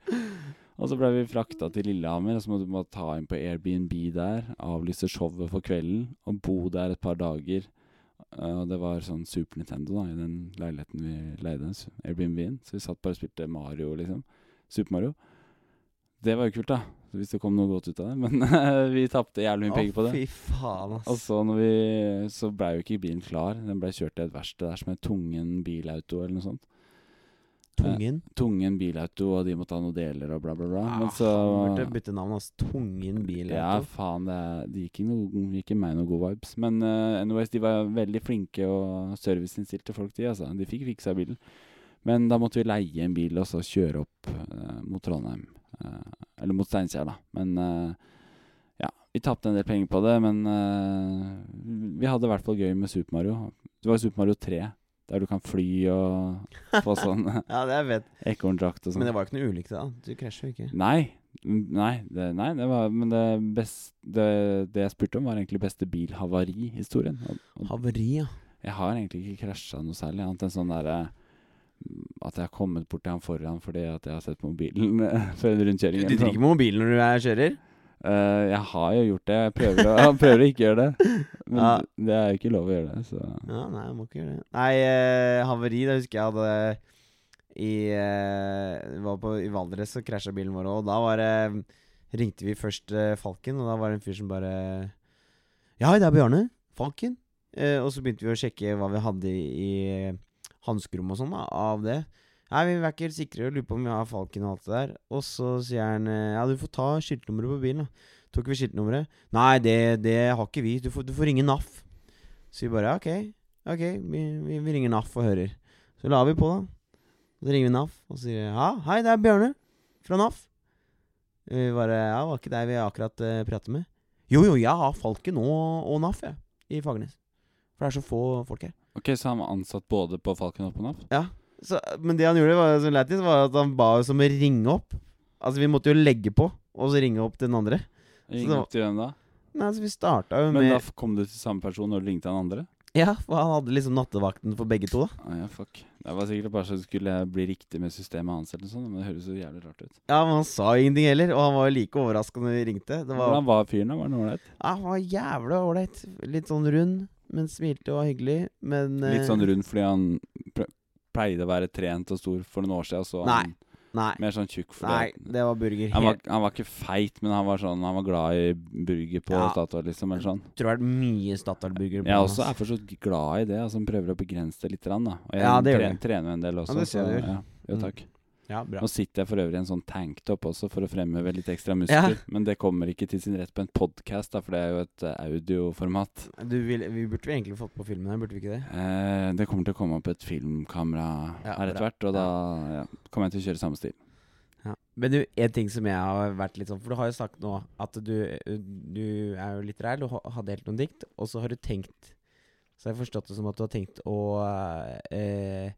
S2: Og så ble vi frakta til Lillehammer, og så måtte vi ta inn på Airbnb der, avlyse showet for kvelden, og bo der et par dager. Eh, Og det var sånn Super Nintendo da, i den leiligheten vi leide, s- Airbnb-en. Så vi satt bare og spilte Mario, liksom. Super Mario. Det var jo kult, da. Hvis det kom noe godt ut av det. Men vi tapte jævlig mye penger på det. Altså,
S1: fy faen, ass.
S2: Og så, når vi, så ble jo ikke bilen klar. Den ble kjørt til et verksted der som het Tungen Bilauto eller noe sånt.
S1: Tungen.
S2: Tungen Bilauto, og de måtte ha noen deler og bla, bla, bla. Men
S1: Ah,
S2: så
S1: han burde bytte navn, ass. Tungen bil.
S2: Ja, faen, det, er- det gikk ikke noe- gikk ikke meg noen gode vibes. Men eh, anyways, de var veldig flinke og serviceinnstilte folk, de, altså. De fikk fiksa bilen. Men da måtte vi leie en bil og så kjøre opp eh, mot Trondheim. Eh, eller mot Steinkjer, da. Men eh, ja, vi tapte en del penger på det, men eh, vi hadde i hvert fall gøy med Super Mario. Det var Super Mario 3, der du kan fly og få sånn
S1: ja, det er fett.
S2: ekorndrakt og sånn.
S1: Men det var jo ikke noe ulykke, da. Du krasja jo ikke.
S2: Nei, Mm, Nei, det, nei det var, men det, best, det, det jeg spurte om, var egentlig beste bilhavari-historien. Og- og
S1: Havari, ja.
S2: Jeg har egentlig ikke krasja noe særlig, annet enn sånn derre mm, At jeg har kommet bort til han foran fordi at jeg har sett mobilen før en
S1: Du
S2: rundkjøring. eller
S1: driver
S2: sånn.
S1: ikke med mobil når du er kjører?
S2: Eh, jeg har jo gjort det. Jeg prøver å, han prøver å ikke gjøre det. Men
S1: Ja.
S2: det er jo ikke lov å gjøre det, så
S1: Ja, nei, jeg må ikke gjøre det. Nei, eh, havari, det husker jeg hadde i eh, Var på i Valdres, så krasja bilen vår òg. Da var det Ringte vi først eh, Falken, og da var det en fyr som bare Ja, det er Bjarne. Falken. Eh, og så begynte vi å sjekke hva vi hadde i, i hanskerommet og sånn da, av det. Nei, vi er ikke helt sikre, og lurer på om vi har Falken og alt det der. Og så sier han eh, ja, du får ta skiltnummeret på bilen, da. Tok vi skiltnummeret? Nei, det, det har ikke vi. Du får, du får ringe NAF. Så vi bare ja, OK, ok, vi, vi, vi ringer NAF og hører. Så la vi på, da. Så ringer vi NAF og sier ja, hei, det er Bjørne fra NAF. Vi bare ja, var ikke deg vi akkurat uh, pratet med? Jo, jo, jeg har Falken og, og NAF, jeg, i Fagernes. For det er så få folk her.
S2: Ok, så han var ansatt både på Falken og på NAF?
S1: Så, men det han gjorde, var, som lættis, var at han ba oss om å ringe opp. Altså, vi måtte jo legge på, og så ringe opp til den andre. Så
S2: Jeg gikk
S1: det var-
S2: opp til hvem da?
S1: Nei, så vi starta jo
S2: Men
S1: med
S2: da f- kom du til samme person når du ringte han andre?
S1: Ja, for han hadde liksom nattevakten for begge to, da.
S2: Ah, ja, fuck. Det var sikkert bare så det skulle bli riktig med systemet hans eller noe sånt, men det høres så jævlig rart ut.
S1: Ja, men han sa ingenting heller, og han var jo like overraska når vi ringte. Det var
S2: Hvordan var fyren da? Var han ålreit?
S1: Ja, han var jævla ålreit. Litt sånn rund, men smilte og var hyggelig. Men eh,
S2: Litt sånn rund fordi han pre- pleide å være trent og stor for noen år siden, og så var han
S1: Nei,
S2: mer sånn tjukk fordi
S1: nei, det var burger.
S2: han, var,
S1: Helt,
S2: han var ikke feit, men han var sånn Han var glad i burger på
S1: Ja.
S2: Statoil, liksom, eller sånn.
S1: jeg tror det har vært mye Statoil-burger. på
S2: Jeg
S1: den,
S2: også er
S1: ass.
S2: for så vidt glad i det, altså prøver å begrense det litt, grann, da. Og jeg
S1: Ja, det gjør
S2: tre- trener jo en del også.
S1: det ser
S2: så-
S1: jeg du gjør.
S2: ja. Jo,
S1: Mm.
S2: takk.
S1: Ja, bra.
S2: Nå sitter jeg for øvrig i en sånn tanktop også for å fremheve litt ekstra muskler, men det kommer ikke til sin rett på en podkast, for det er jo et eh, audioformat.
S1: Du, vi, vi burde vi egentlig fått på filmen her, burde vi ikke det?
S2: Eh, det kommer til å komme opp et filmkamera
S1: Ja,
S2: her etter
S1: bra.
S2: hvert, og da ja, kommer jeg til å kjøre samme stil.
S1: Ja. Men du, en ting som jeg har vært litt sånn For du har jo sagt nå at du, du er jo litterær, du ha- hadde helt noen dikt, og så har du tenkt Så har jeg forstått det som at du har tenkt å eh,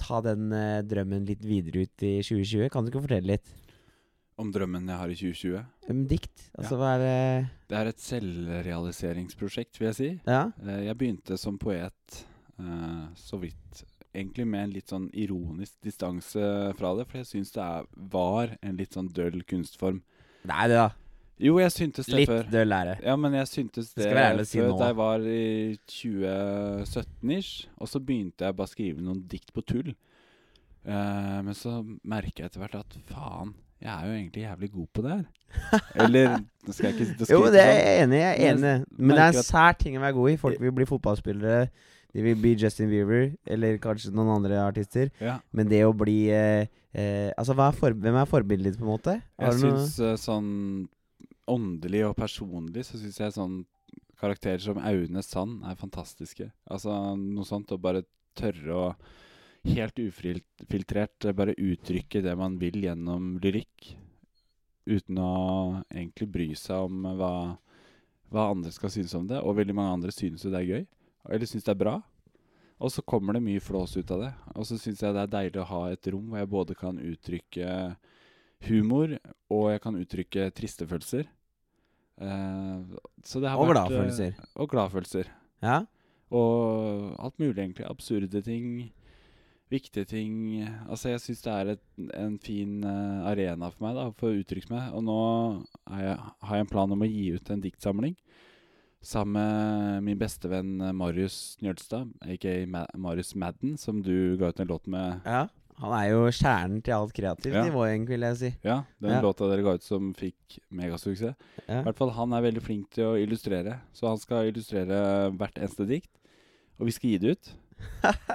S1: ta den eh, drømmen litt videre ut i 2020. Kan du ikke fortelle litt
S2: Om drømmen jeg har i 2020?
S1: om dikt? Altså hva er det
S2: Det er et selvrealiseringsprosjekt, vil jeg si.
S1: Ja?
S2: Eh, Jeg begynte som poet eh, så vidt Egentlig med en litt sånn ironisk distanse fra det, for jeg syns det er, var en litt sånn døll kunstform.
S1: Nei, det da.
S2: Jo, jeg syntes det
S1: Litt
S2: før.
S1: døll er det.
S2: Ja, men jeg syntes
S1: Det
S2: det
S1: skal være ærlig å si
S2: før
S1: nå.
S2: da jeg var i 2017-ish. Og så begynte jeg bare å skrive noen dikt på tull. Eh, men så merka jeg etter hvert at faen, jeg er jo egentlig jævlig god på det her. Eller nå skal jeg ikke sitte og
S1: Jo,
S2: skryte
S1: det er
S2: sånn.
S1: jeg enig i. Jeg er
S2: Men
S1: enig. Men det er
S2: merker
S1: en
S2: at-
S1: sær ting å være god i. Folk vil bli fotballspillere. De vil bli Justin Bieber, eller kanskje noen andre artister.
S2: Ja.
S1: Men det å bli eh, eh, Altså, hva er for, hvem er forbildet ditt, på en måte? Har
S2: Jeg
S1: du noe-
S2: syns eh, sånn åndelig og personlig så syns jeg sånn karakterer som Aune Sand er fantastiske. Altså noe sånt. Å bare tørre å helt ufiltrert bare uttrykke det man vil gjennom lyrikk. Uten å egentlig bry seg om hva, hva andre skal synes om det. Og veldig mange andre synes jo det er gøy. Eller synes det er bra. Og så kommer det mye flås ut av det. Og så syns jeg det er deilig å ha et rom hvor jeg både kan uttrykke humor, og jeg kan uttrykke triste følelser. Eh, så det har
S1: Og
S2: vært, eh,
S1: gladfølelser.
S2: Og gladfølelser.
S1: Ja?
S2: Og alt mulig, egentlig. Absurde ting. Viktige ting. Altså, jeg syns det er et, en fin eh, arena for meg, da, for å uttrykke meg. Og nå er jeg, har jeg en plan om å gi ut en diktsamling sammen med min bestevenn eh, Marius Njølstad, aka Ma Marius Madden, som du ga ut en låt med.
S1: ja? Han er jo kjernen til alt kreativt
S2: Ja.
S1: nivå, egentlig, vil jeg si.
S2: Ja, den
S1: Ja.
S2: låta dere ga ut som fikk megasuksess.
S1: Ja.
S2: I hvert fall han er veldig flink til å illustrere, så han skal illustrere hvert eneste dikt. Og vi skal gi det ut.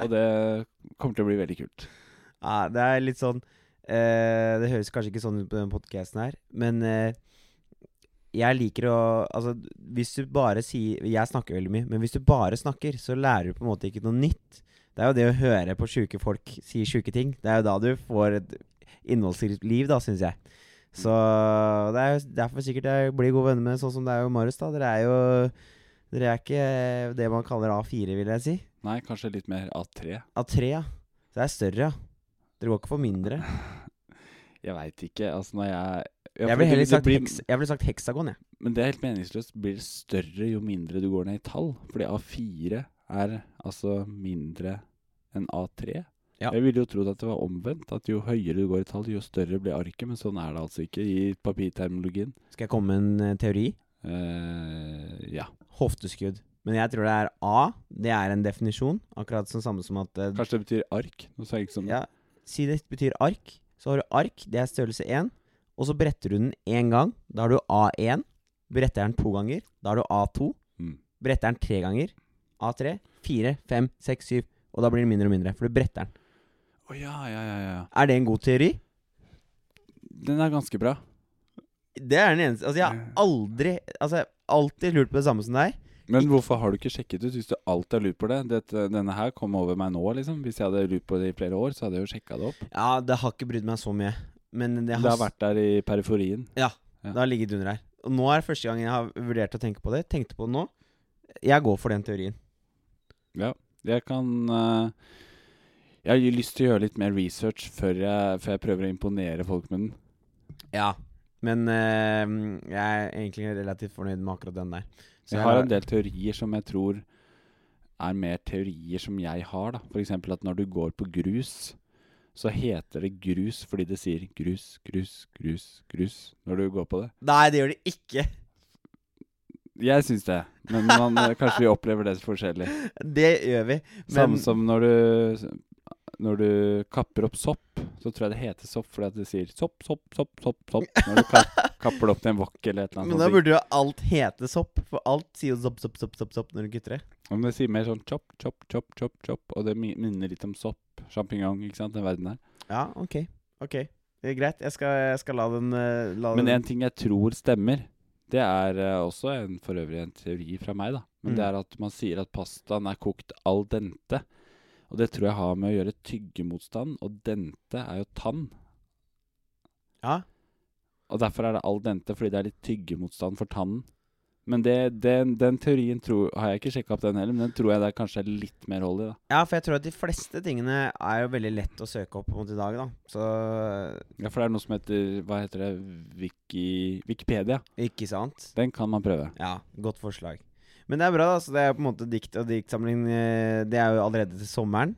S2: Og det kommer til å bli veldig kult.
S1: Ja, det er litt sånn eh, Det høres kanskje ikke sånn ut på den podkasten her, men eh, jeg liker å Altså, hvis du bare sier Jeg snakker veldig mye, men hvis du bare snakker, så lærer du på en måte ikke noe nytt. Det er jo det å høre på sjuke folk si sjuke ting. Det er jo da du får et innholdsrikt liv, da, syns jeg. Så det er jo derfor sikkert jeg blir gode venner med sånn som deg og Marius, da. Dere er jo Dere er ikke det man kaller A4, vil jeg si.
S2: Nei, kanskje litt mer A3.
S1: A3, ja. Så det er større, ja. Dere går ikke for mindre.
S2: Jeg veit ikke. Altså, når jeg
S1: Jeg
S2: Ja, for det-
S1: ville heller
S2: det
S1: sagt,
S2: blir-
S1: heks, jeg ville sagt heksagon, jeg.
S2: Men det er helt meningsløst. Blir det større jo mindre du går ned i tall? Fordi A4 er altså mindre enn A3.
S1: Ja.
S2: Jeg ville jo trodd at det var omvendt. At jo høyere du går i tall, jo større blir arket. Men sånn er det altså ikke i papirterminologien.
S1: Skal jeg komme med en eh, teori?
S2: Eh, ja.
S1: Hofteskudd. Men jeg tror det er A. Det er en definisjon. Akkurat som samme som at eh,
S2: Kanskje det betyr ark? Nå sa jeg ikke sånn.
S1: ja, Si det betyr ark. Så har du ark, det er størrelse 1. Og så bretter du den én gang. Da har du A1. Bretter den to ganger. Da har du A2.
S2: Mm.
S1: Bretter den tre ganger. A3, 4, 5, 6, 7. Og da blir det mindre og mindre, for du bretter den.
S2: Å ja, ja, ja, ja.
S1: Er det en god teori?
S2: Den er ganske bra.
S1: Det er den eneste Altså, jeg har
S2: Ja.
S1: aldri Altså, jeg har alltid lurt på det samme som deg.
S2: Men hvorfor har du ikke sjekket ut hvis du alltid har lurt på det? Dette, denne her kom over meg nå, liksom. Hvis jeg hadde lurt på det i flere år, så hadde jeg jo sjekka det opp.
S1: Ja, det har ikke brydd meg så mye. Men det har,
S2: Det har vært der i periferien. ja.
S1: det har ligget under her. Og nå er det første gang jeg har vurdert å tenke på det. Tenkte på det nå. Jeg går for den teorien.
S2: Jeg kan eh, Jeg har jo lyst til å gjøre litt mer research før jeg, før jeg prøver å imponere folk med den.
S1: Ja. Men eh, jeg er egentlig relativt fornøyd med akkurat den der.
S2: Så jeg har en del teorier som jeg tror er mer teorier som jeg har. da F.eks. at når du går på grus, så heter det grus fordi det sier grus, grus, grus, grus når du går på det.
S1: Nei, det gjør det ikke.
S2: Jeg syns det, men man, eh, kanskje vi opplever det forskjellig.
S1: Det gjør vi.
S2: Samme som når du når du kapper opp sopp, så tror jeg det heter sopp fordi at det sier sopp, sopp, sopp, sopp, sopp når du kap, kapper det opp til en wok eller et eller
S1: Men
S2: annet.
S1: da
S2: sånt.
S1: burde jo alt hete sopp, for alt sier jo sopp, sopp, sopp, sopp, sopp når du kutter det.
S2: Om det sier mer sånn chop, chop, chop, chop, chop, og det mi- minner litt om sopp, sjampinjong, ikke sant, den verden her.
S1: Ja, ok. Ok. Det er greit. Jeg skal, jeg skal la den eh, la
S2: Men
S1: den-
S2: en ting jeg tror stemmer, det er eh, også en, for øvrig en teori fra meg, da. Men det
S1: Mm.
S2: er at man sier at pastaen er kokt al dente. Og det tror jeg har med å gjøre tyggemotstand, og dente er jo tann.
S1: Ja.
S2: Og derfor er det al dente, fordi det er litt tyggemotstand for tannen. Men det, den, den teorien tror, har jeg ikke sjekka opp den heller, men den tror jeg det er kanskje er litt mer hold i. da.
S1: Ja, for jeg tror at de fleste tingene er jo veldig lett å søke opp mot i dag, da. Så
S2: Ja, For det er noe som heter Hva heter det? Wiki, Wikipedia.
S1: ikke sant?
S2: Den kan man prøve.
S1: Ja, godt forslag. Men det er bra, da. Så det er jo på en måte dikt og diktsamling eh, Det er jo allerede til sommeren.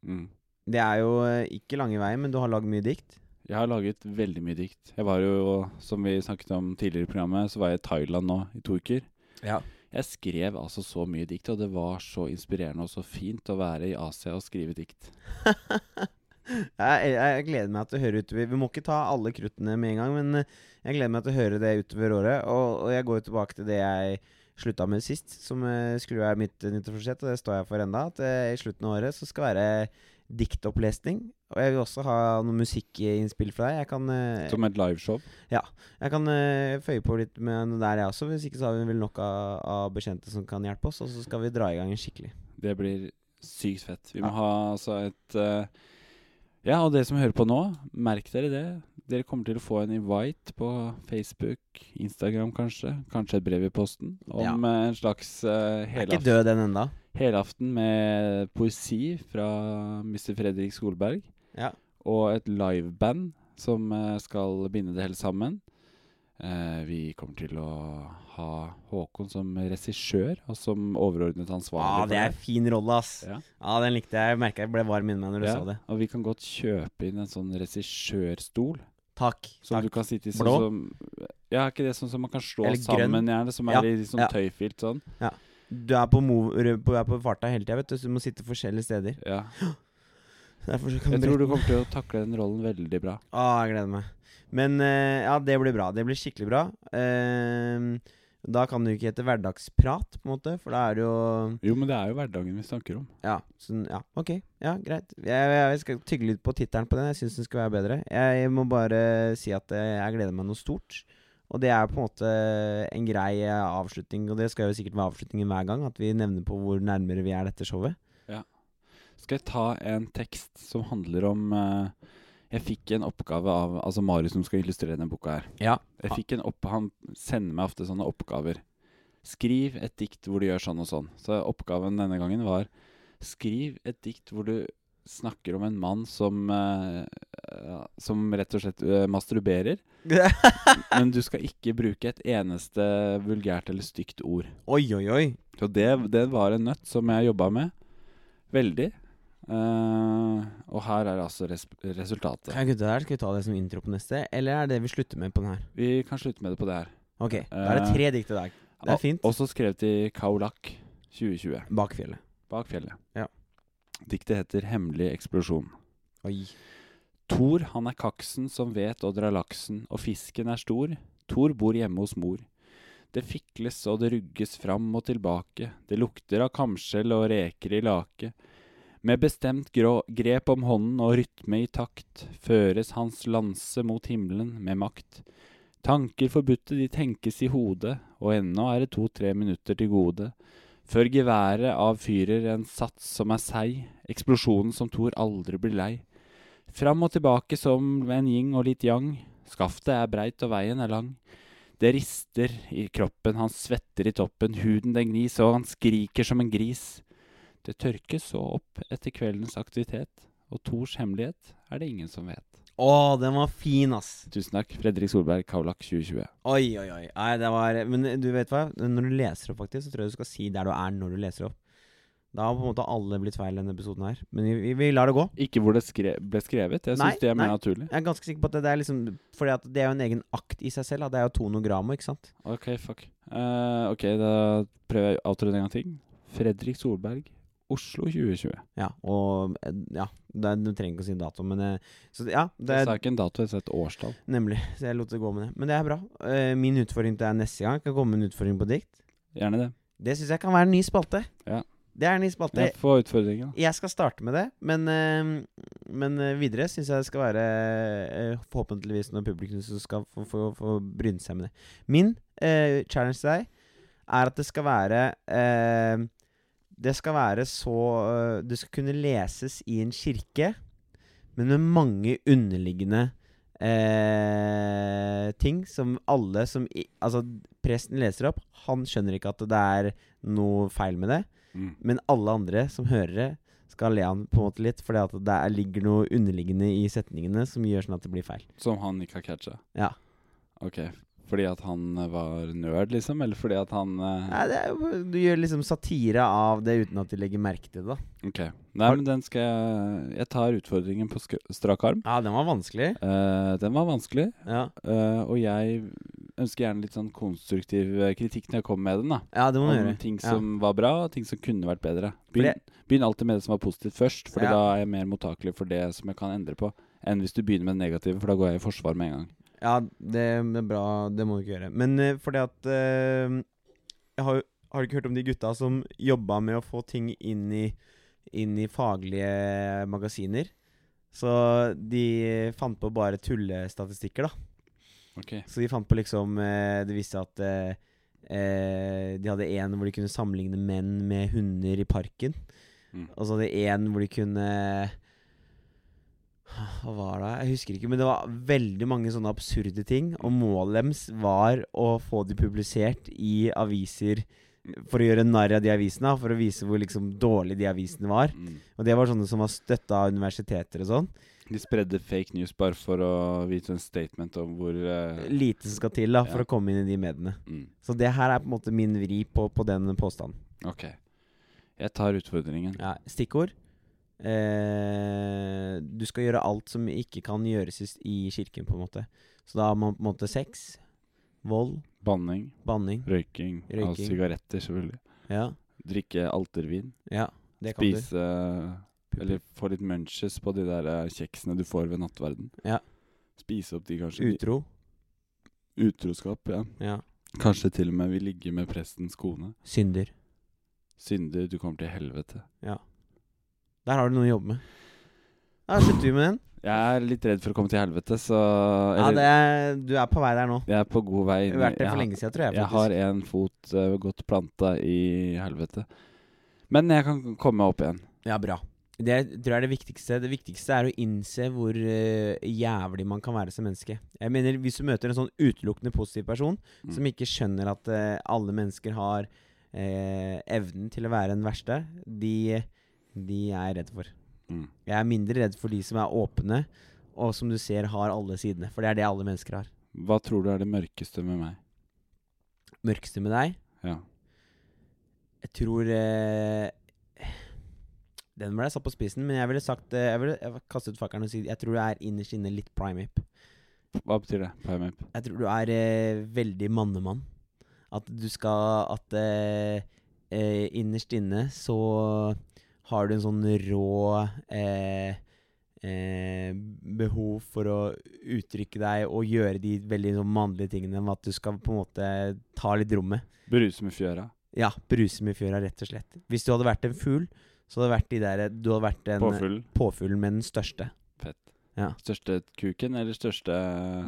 S2: Mm.
S1: Det er jo eh, ikke lange veien, men du har lagd mye dikt.
S2: Jeg har laget veldig mye dikt. Jeg var jo, som vi snakket om tidligere i programmet, så var jeg i Thailand nå i to uker.
S1: Ja.
S2: Jeg skrev altså så mye dikt, og det var så inspirerende og så fint å være i Asia og skrive dikt.
S1: Jeg, jeg, jeg gleder meg til å høre utover. Vi må ikke ta alle kruttene med en gang, men eh, jeg gleder meg til å høre det utover året. Og, og jeg går jo tilbake til det jeg slutta med sist, som eh, skulle være mitt eh, nyttårsforsett, og det står jeg for enda. At eh, i slutten av året så skal være diktopplesning. Og jeg vil også ha noe musikkinnspill fra deg. Jeg kan, eh,
S2: Som et liveshow.
S1: jeg kan eh, føye på litt med noe der, jeg også. Hvis ikke så har vi vel nok av, av bekjente som kan hjelpe oss, og så skal vi dra i gang skikkelig.
S2: Det blir sykt fett. Vi må
S1: Ja.
S2: ha altså et eh, Ja, og dere som hører på nå, merk dere det. Dere kommer til å få en invite på Facebook, Instagram kanskje. Kanskje et brev i posten om
S1: Ja.
S2: eh, en slags uh,
S1: Jeg er ikke død den enda.
S2: helaften med poesi fra Mr. Fredrik Solberg.
S1: Ja.
S2: Og et liveband som eh, skal binde det hele sammen. Eh, vi kommer til å ha Håkon som regissør og som overordnet ansvarlig.
S1: Ja,
S2: for
S1: det er fin rolle, ass.
S2: Ja.
S1: Ja. den likte jeg. Jeg merka jeg ble varm inni meg når du
S2: Ja,
S1: sa det.
S2: Og vi kan godt kjøpe inn en sånn regissørstol
S1: Takk.
S2: som
S1: takk.
S2: du kan sitte i. Sånn
S1: Blå?
S2: som, ja, er ikke det sånn som man kan slå
S1: Eller grønn?
S2: sammen, gjerne? Som
S1: Ja,
S2: er i sånn
S1: ja.
S2: tøyfilt sånn.
S1: Du er på, mov- rø- på, du er på farta hele tida, vet du, så du må sitte forskjellige steder.
S2: Ja.
S1: Derfor så kan
S2: Jeg
S1: du
S2: tror du kommer til å takle den rollen veldig bra.
S1: Å, jeg gleder meg. Men eh, ja, det blir bra. Det blir skikkelig bra. Ehm, da kan det jo ikke hete hverdagsprat, på en måte, for da er det jo
S2: Jo, men det er jo hverdagen vi snakker om.
S1: Ja, sånn, ja ok. Ja, greit. Jeg, jeg, jeg skal tygge litt på tittelen på den. Jeg syns den skal være bedre. Jeg, må bare si at eh, jeg gleder meg noe stort. Og det er på en måte en grei eh, avslutning, og det skal jo sikkert være avslutningen hver gang, at vi nevner på hvor nærmere vi er dette showet.
S2: Skal jeg ta en tekst som handler om eh, Jeg fikk en oppgave av Altså Marius som skal illustrere denne boka her.
S1: Ja.
S2: Jeg fikk en opp, Han sender meg ofte sånne oppgaver. Skriv et dikt hvor du gjør sånn og sånn. Så oppgaven denne gangen var Skriv et dikt hvor du snakker om en mann som eh, ja, Som rett og slett eh, masturberer. Men du skal ikke bruke et eneste vulgært eller stygt ord.
S1: oi, oi, oi.
S2: Så det, det var en nøtt som jeg jobba med veldig. Eh, og her er altså res resultatet.
S1: Ja, gutta her, Skal vi ta det som intro på neste, eller er det vi slutter med på den her?
S2: Vi kan slutte med det på det her.
S1: Ok, da er det tre dikt i dag. Det er fint.
S2: Og- Også skrevet i Kaulak 2020.
S1: Bak fjellet.
S2: Bak fjellet.
S1: Ja.
S2: Diktet heter 'Hemmelig eksplosjon'.
S1: Oi.
S2: Thor, han er kaksen som vet å dra laksen, og fisken er stor. Thor bor hjemme hos mor. Det fikles og det rugges fram og tilbake, det lukter av kamskjell og reker i lake. Med bestemt grå grep om hånden og rytme i takt, føres hans lanse mot himmelen med makt. Tanker forbudte de tenkes i hodet, og ennå er det to-tre minutter til gode. Før geværet avfyrer en sats som er seig, eksplosjonen som Thor aldri blir lei. Fram og tilbake som en yin og litt yang. Skaftet er breit og veien er lang. Det rister i kroppen, han svetter i toppen, huden den gnis, og han skriker som en gris. Det tørkes så opp etter kveldens aktivitet, og Thors hemmelighet er det ingen som vet.
S1: Å, den var fin, ass.
S2: Tusen takk, Fredrik Solberg, Kaulak 2020.
S1: Oi, oi, oi. Nei, det var Men du vet hva? Når du leser opp, faktisk, så tror jeg du skal si der du er når du leser opp. Da har på en måte alle blitt feil i denne episoden her. Men vi, vi, vi lar det gå.
S2: Ikke hvor det skre ble skrevet, jeg
S1: Nei,
S2: syns det er mer
S1: nei.
S2: naturlig.
S1: Jeg er ganske sikker på at det, det er liksom Fordi at det er jo en egen akt i seg selv. Da. Det er jo tonogrammet, ikke sant?
S2: Ok, fuck. Eh, ok, da prøver jeg å outroen en gang til. Fredrik Solberg, Oslo 2020.
S1: Ja. Og eh, Ja. Det, er- du trenger ikke å si en dato, men eh, Så ja. Det
S2: Jeg
S1: er
S2: sa ikke en dato, jeg sa et årstall.
S1: nemlig. Så jeg lot det gå med det. Men det er bra. Eh, Min utfordring til deg neste gang kan komme med en utfordring på dikt.
S2: Gjerne det.
S1: Det syns jeg kan være en ny spalte.
S2: Ja.
S1: Det er en ny spalte.
S2: Ja, få utfordringen. da.
S1: Jeg skal starte med det, men, eh, men eh, videre syns jeg det skal være eh, forhåpentligvis noen publikum som skal få, få, få bryne seg med det. Min eh, challenge til deg er at det skal være eh, Det skal være så eh, Det skal kunne leses i en kirke, men med mange underliggende eh, ting som alle som i, Altså, presten leser opp, han skjønner ikke at det er noe feil med det. Men alle andre som hører det, skal le han på en måte litt, fordi at det er, ligger noe underliggende i setningene som gjør sånn at det blir feil.
S2: Som han ikke har catcha?
S1: Ja.
S2: Ok. Fordi at han eh, var nerd, liksom? Eller fordi at han eh,
S1: Nei, det er, jo- du gjør liksom satire av det uten at de legger merke til det, da.
S2: Ok. Nei, men den skal jeg Jeg tar utfordringen på sk strak arm.
S1: Ja, den var vanskelig.
S2: Eh, den var vanskelig,
S1: Ja,
S2: eh, og jeg ønsker gjerne litt sånn konstruktiv eh, kritikk når jeg kommer med den. da
S1: ja det må du
S2: Om
S1: gjøre.
S2: ting
S1: Ja.
S2: som var bra, og ting som kunne vært bedre.
S1: Fordi-
S2: Begynn, begynn alltid med det som var positivt først, Fordi
S1: Ja.
S2: da er jeg mer mottakelig for det som jeg kan endre på, enn hvis du begynner med det negative, for da går jeg i forsvar med en gang.
S1: Ja, det, det er bra. Det må du ikke gjøre. Men eh, fordi at eh, jeg har, jo- har du ikke hørt om de gutta som jobba med å få ting inn i, inn i faglige magasiner? Så de fant på bare tullestatistikker, da.
S2: Ok
S1: Så de fant på liksom eh, Det viste seg at eh, eh, de hadde en hvor de kunne sammenligne menn med hunder i parken.
S2: Mm.
S1: Og så hadde de en hvor de kunne Hva var det? Jeg husker ikke. Men det var veldig mange sånne absurde ting. Og
S2: Mm.
S1: målet deres var å få de publisert i aviser for å gjøre narr av de avisene. For å vise hvor liksom dårlig de avisene var.
S2: Mm.
S1: Og det var sånne som var støtta av universiteter og sånn.
S2: De spredde fake news bare for å vite en statement om hvor eh,
S1: Lite som skal til da for
S2: Ja.
S1: å komme inn i de mediene.
S2: mm,
S1: Så det her er på en måte min vri på, på den påstanden.
S2: Ok. Jeg tar utfordringen.
S1: Ja, stikkord. Eh, du skal gjøre alt som ikke kan gjøres i s- i kirken, på en måte. Så da har man på en måte sex, vold,
S2: Banning,
S1: banning.
S2: røyking, av
S1: Røyking.
S2: sigaretter, selvfølgelig.
S1: Ja,
S2: Drikke altervin.
S1: ja det kan du.
S2: Spise Eller få litt munches på de der eh, kjeksene du får ved nattverden.
S1: Ja.
S2: Spise opp de, kanskje.
S1: Utro.
S2: Utroskap, ja.
S1: Ja.
S2: Kanskje til og med vi ligger med prestens kone.
S1: Synder.
S2: Synder, du kommer til helvete.
S1: Der har du noe å jobbe med. Da slutter vi med den.
S2: Jeg er litt redd for å komme til helvete, så
S1: Ja,
S2: eller,
S1: det er, du er på vei der nå.
S2: Jeg er på god
S1: Vi
S2: vei.
S1: har
S2: inn i-
S1: vært der
S2: jeg
S1: for
S2: har-
S1: lenge siden, tror jeg.
S2: Jeg
S1: faktisk.
S2: har en fot eh, godt planta i helvete. Men jeg kan komme meg opp igjen.
S1: Ja, bra. Det tror jeg er det viktigste. Det viktigste er å innse hvor eh, jævlig man kan være som menneske. Jeg mener, Hvis du møter en sånn utelukkende positiv person
S2: Mm.
S1: som ikke skjønner at eh, alle mennesker har eh, evnen til å være en verste, de, de er jeg redd for.
S2: Mm.
S1: Jeg er mindre redd for de som er åpne, og som du ser har alle sidene. For det er det alle mennesker har.
S2: Hva tror du er det mørkeste med meg?
S1: Mørkeste med deg
S2: Ja.
S1: Jeg tror eh, Den ble jeg satt på spissen, men jeg ville sagt eh, Jeg ville jeg ville kastet fakkelen og si jeg tror du er innerst inne litt primip.
S2: Hva betyr det? Primap.
S1: Jeg tror du er eh, veldig mannemann. At du skal At eh, eh, innerst inne så har du en sånn rå eh, eh, behov for å uttrykke deg og gjøre de veldig sånn mannlige tingene med at du skal på en måte ta litt rommet.
S2: Bruse med fjøra.
S1: Ja, bruse med fjøra, rett og slett. Hvis du hadde vært en fugl, så hadde det vært de der, du hadde vært en eh,
S2: Påfugl.
S1: påfuglen med den største.
S2: Største kuken eller største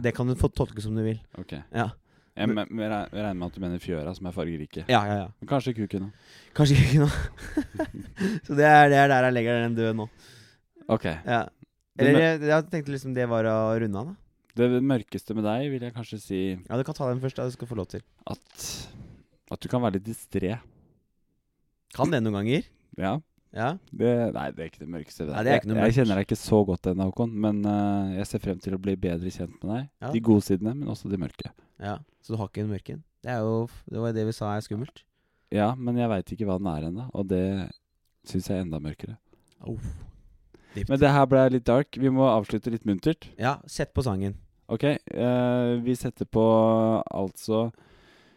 S1: Det kan du få tolke som du vil.
S2: Ok.
S1: Ja.
S2: Jeg, me- me- re- jeg regner med at du mener fjøra, som er fargerike.
S1: Ja, ja, ja.
S2: Men kanskje kuken, da.
S1: Kanskje ikke nå. så det er, det er der jeg legger den død nå.
S2: Ok.
S1: Ja.
S2: Det
S1: Eller
S2: mør-
S1: jeg, jeg tenkte liksom det var å runde av, da.
S2: det mørkeste med deg vil jeg kanskje si
S1: Ja, du kan ta den først, da. Du skal få lov til.
S2: at At du kan være litt distré.
S1: Kan det noen ganger.
S2: Ja.
S1: Ja.
S2: Det, nei, det er ikke det mørkeste. ved
S1: Nei, det er ikke noe
S2: jeg, jeg
S1: mørkt.
S2: kjenner deg ikke så godt ennå, Håkon, men eh, jeg ser frem til å bli bedre kjent med deg.
S1: Ja.
S2: De gode sidene, men også de mørke.
S1: ja. Så du har ikke en mørken? Det er jo Det var jo det vi sa er skummelt.
S2: Ja, men jeg veit ikke hva den er ennå, og det syns jeg er enda mørkere.
S1: Oh.
S2: Men det her ble litt dark. Vi må avslutte litt muntert.
S1: Ja, sett på sangen.
S2: Ok, eh, vi setter på altså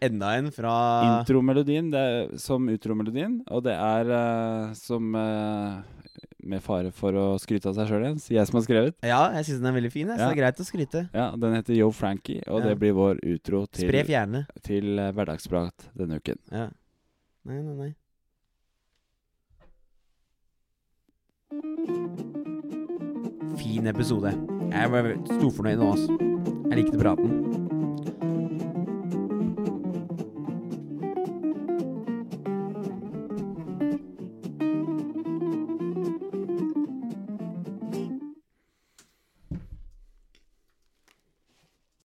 S1: Enda en fra
S2: intromelodien det er, som utromelodien, og det er eh, som eh, Med fare for å skryte av seg sjøl igjen, så jeg som har skrevet.
S1: Ja, jeg syns den er veldig fin. Jeg, så
S2: Ja.
S1: det er greit å skryte.
S2: Ja, Den heter Yo Frankie, og
S1: Ja.
S2: det blir vår utro til,
S1: Spre fjærene.
S2: til eh, hverdagsprat denne uken.
S1: Ja. Nei, nei, nei. Fin episode. Jeg ble stor fornøyd nå, altså. Jeg likte praten.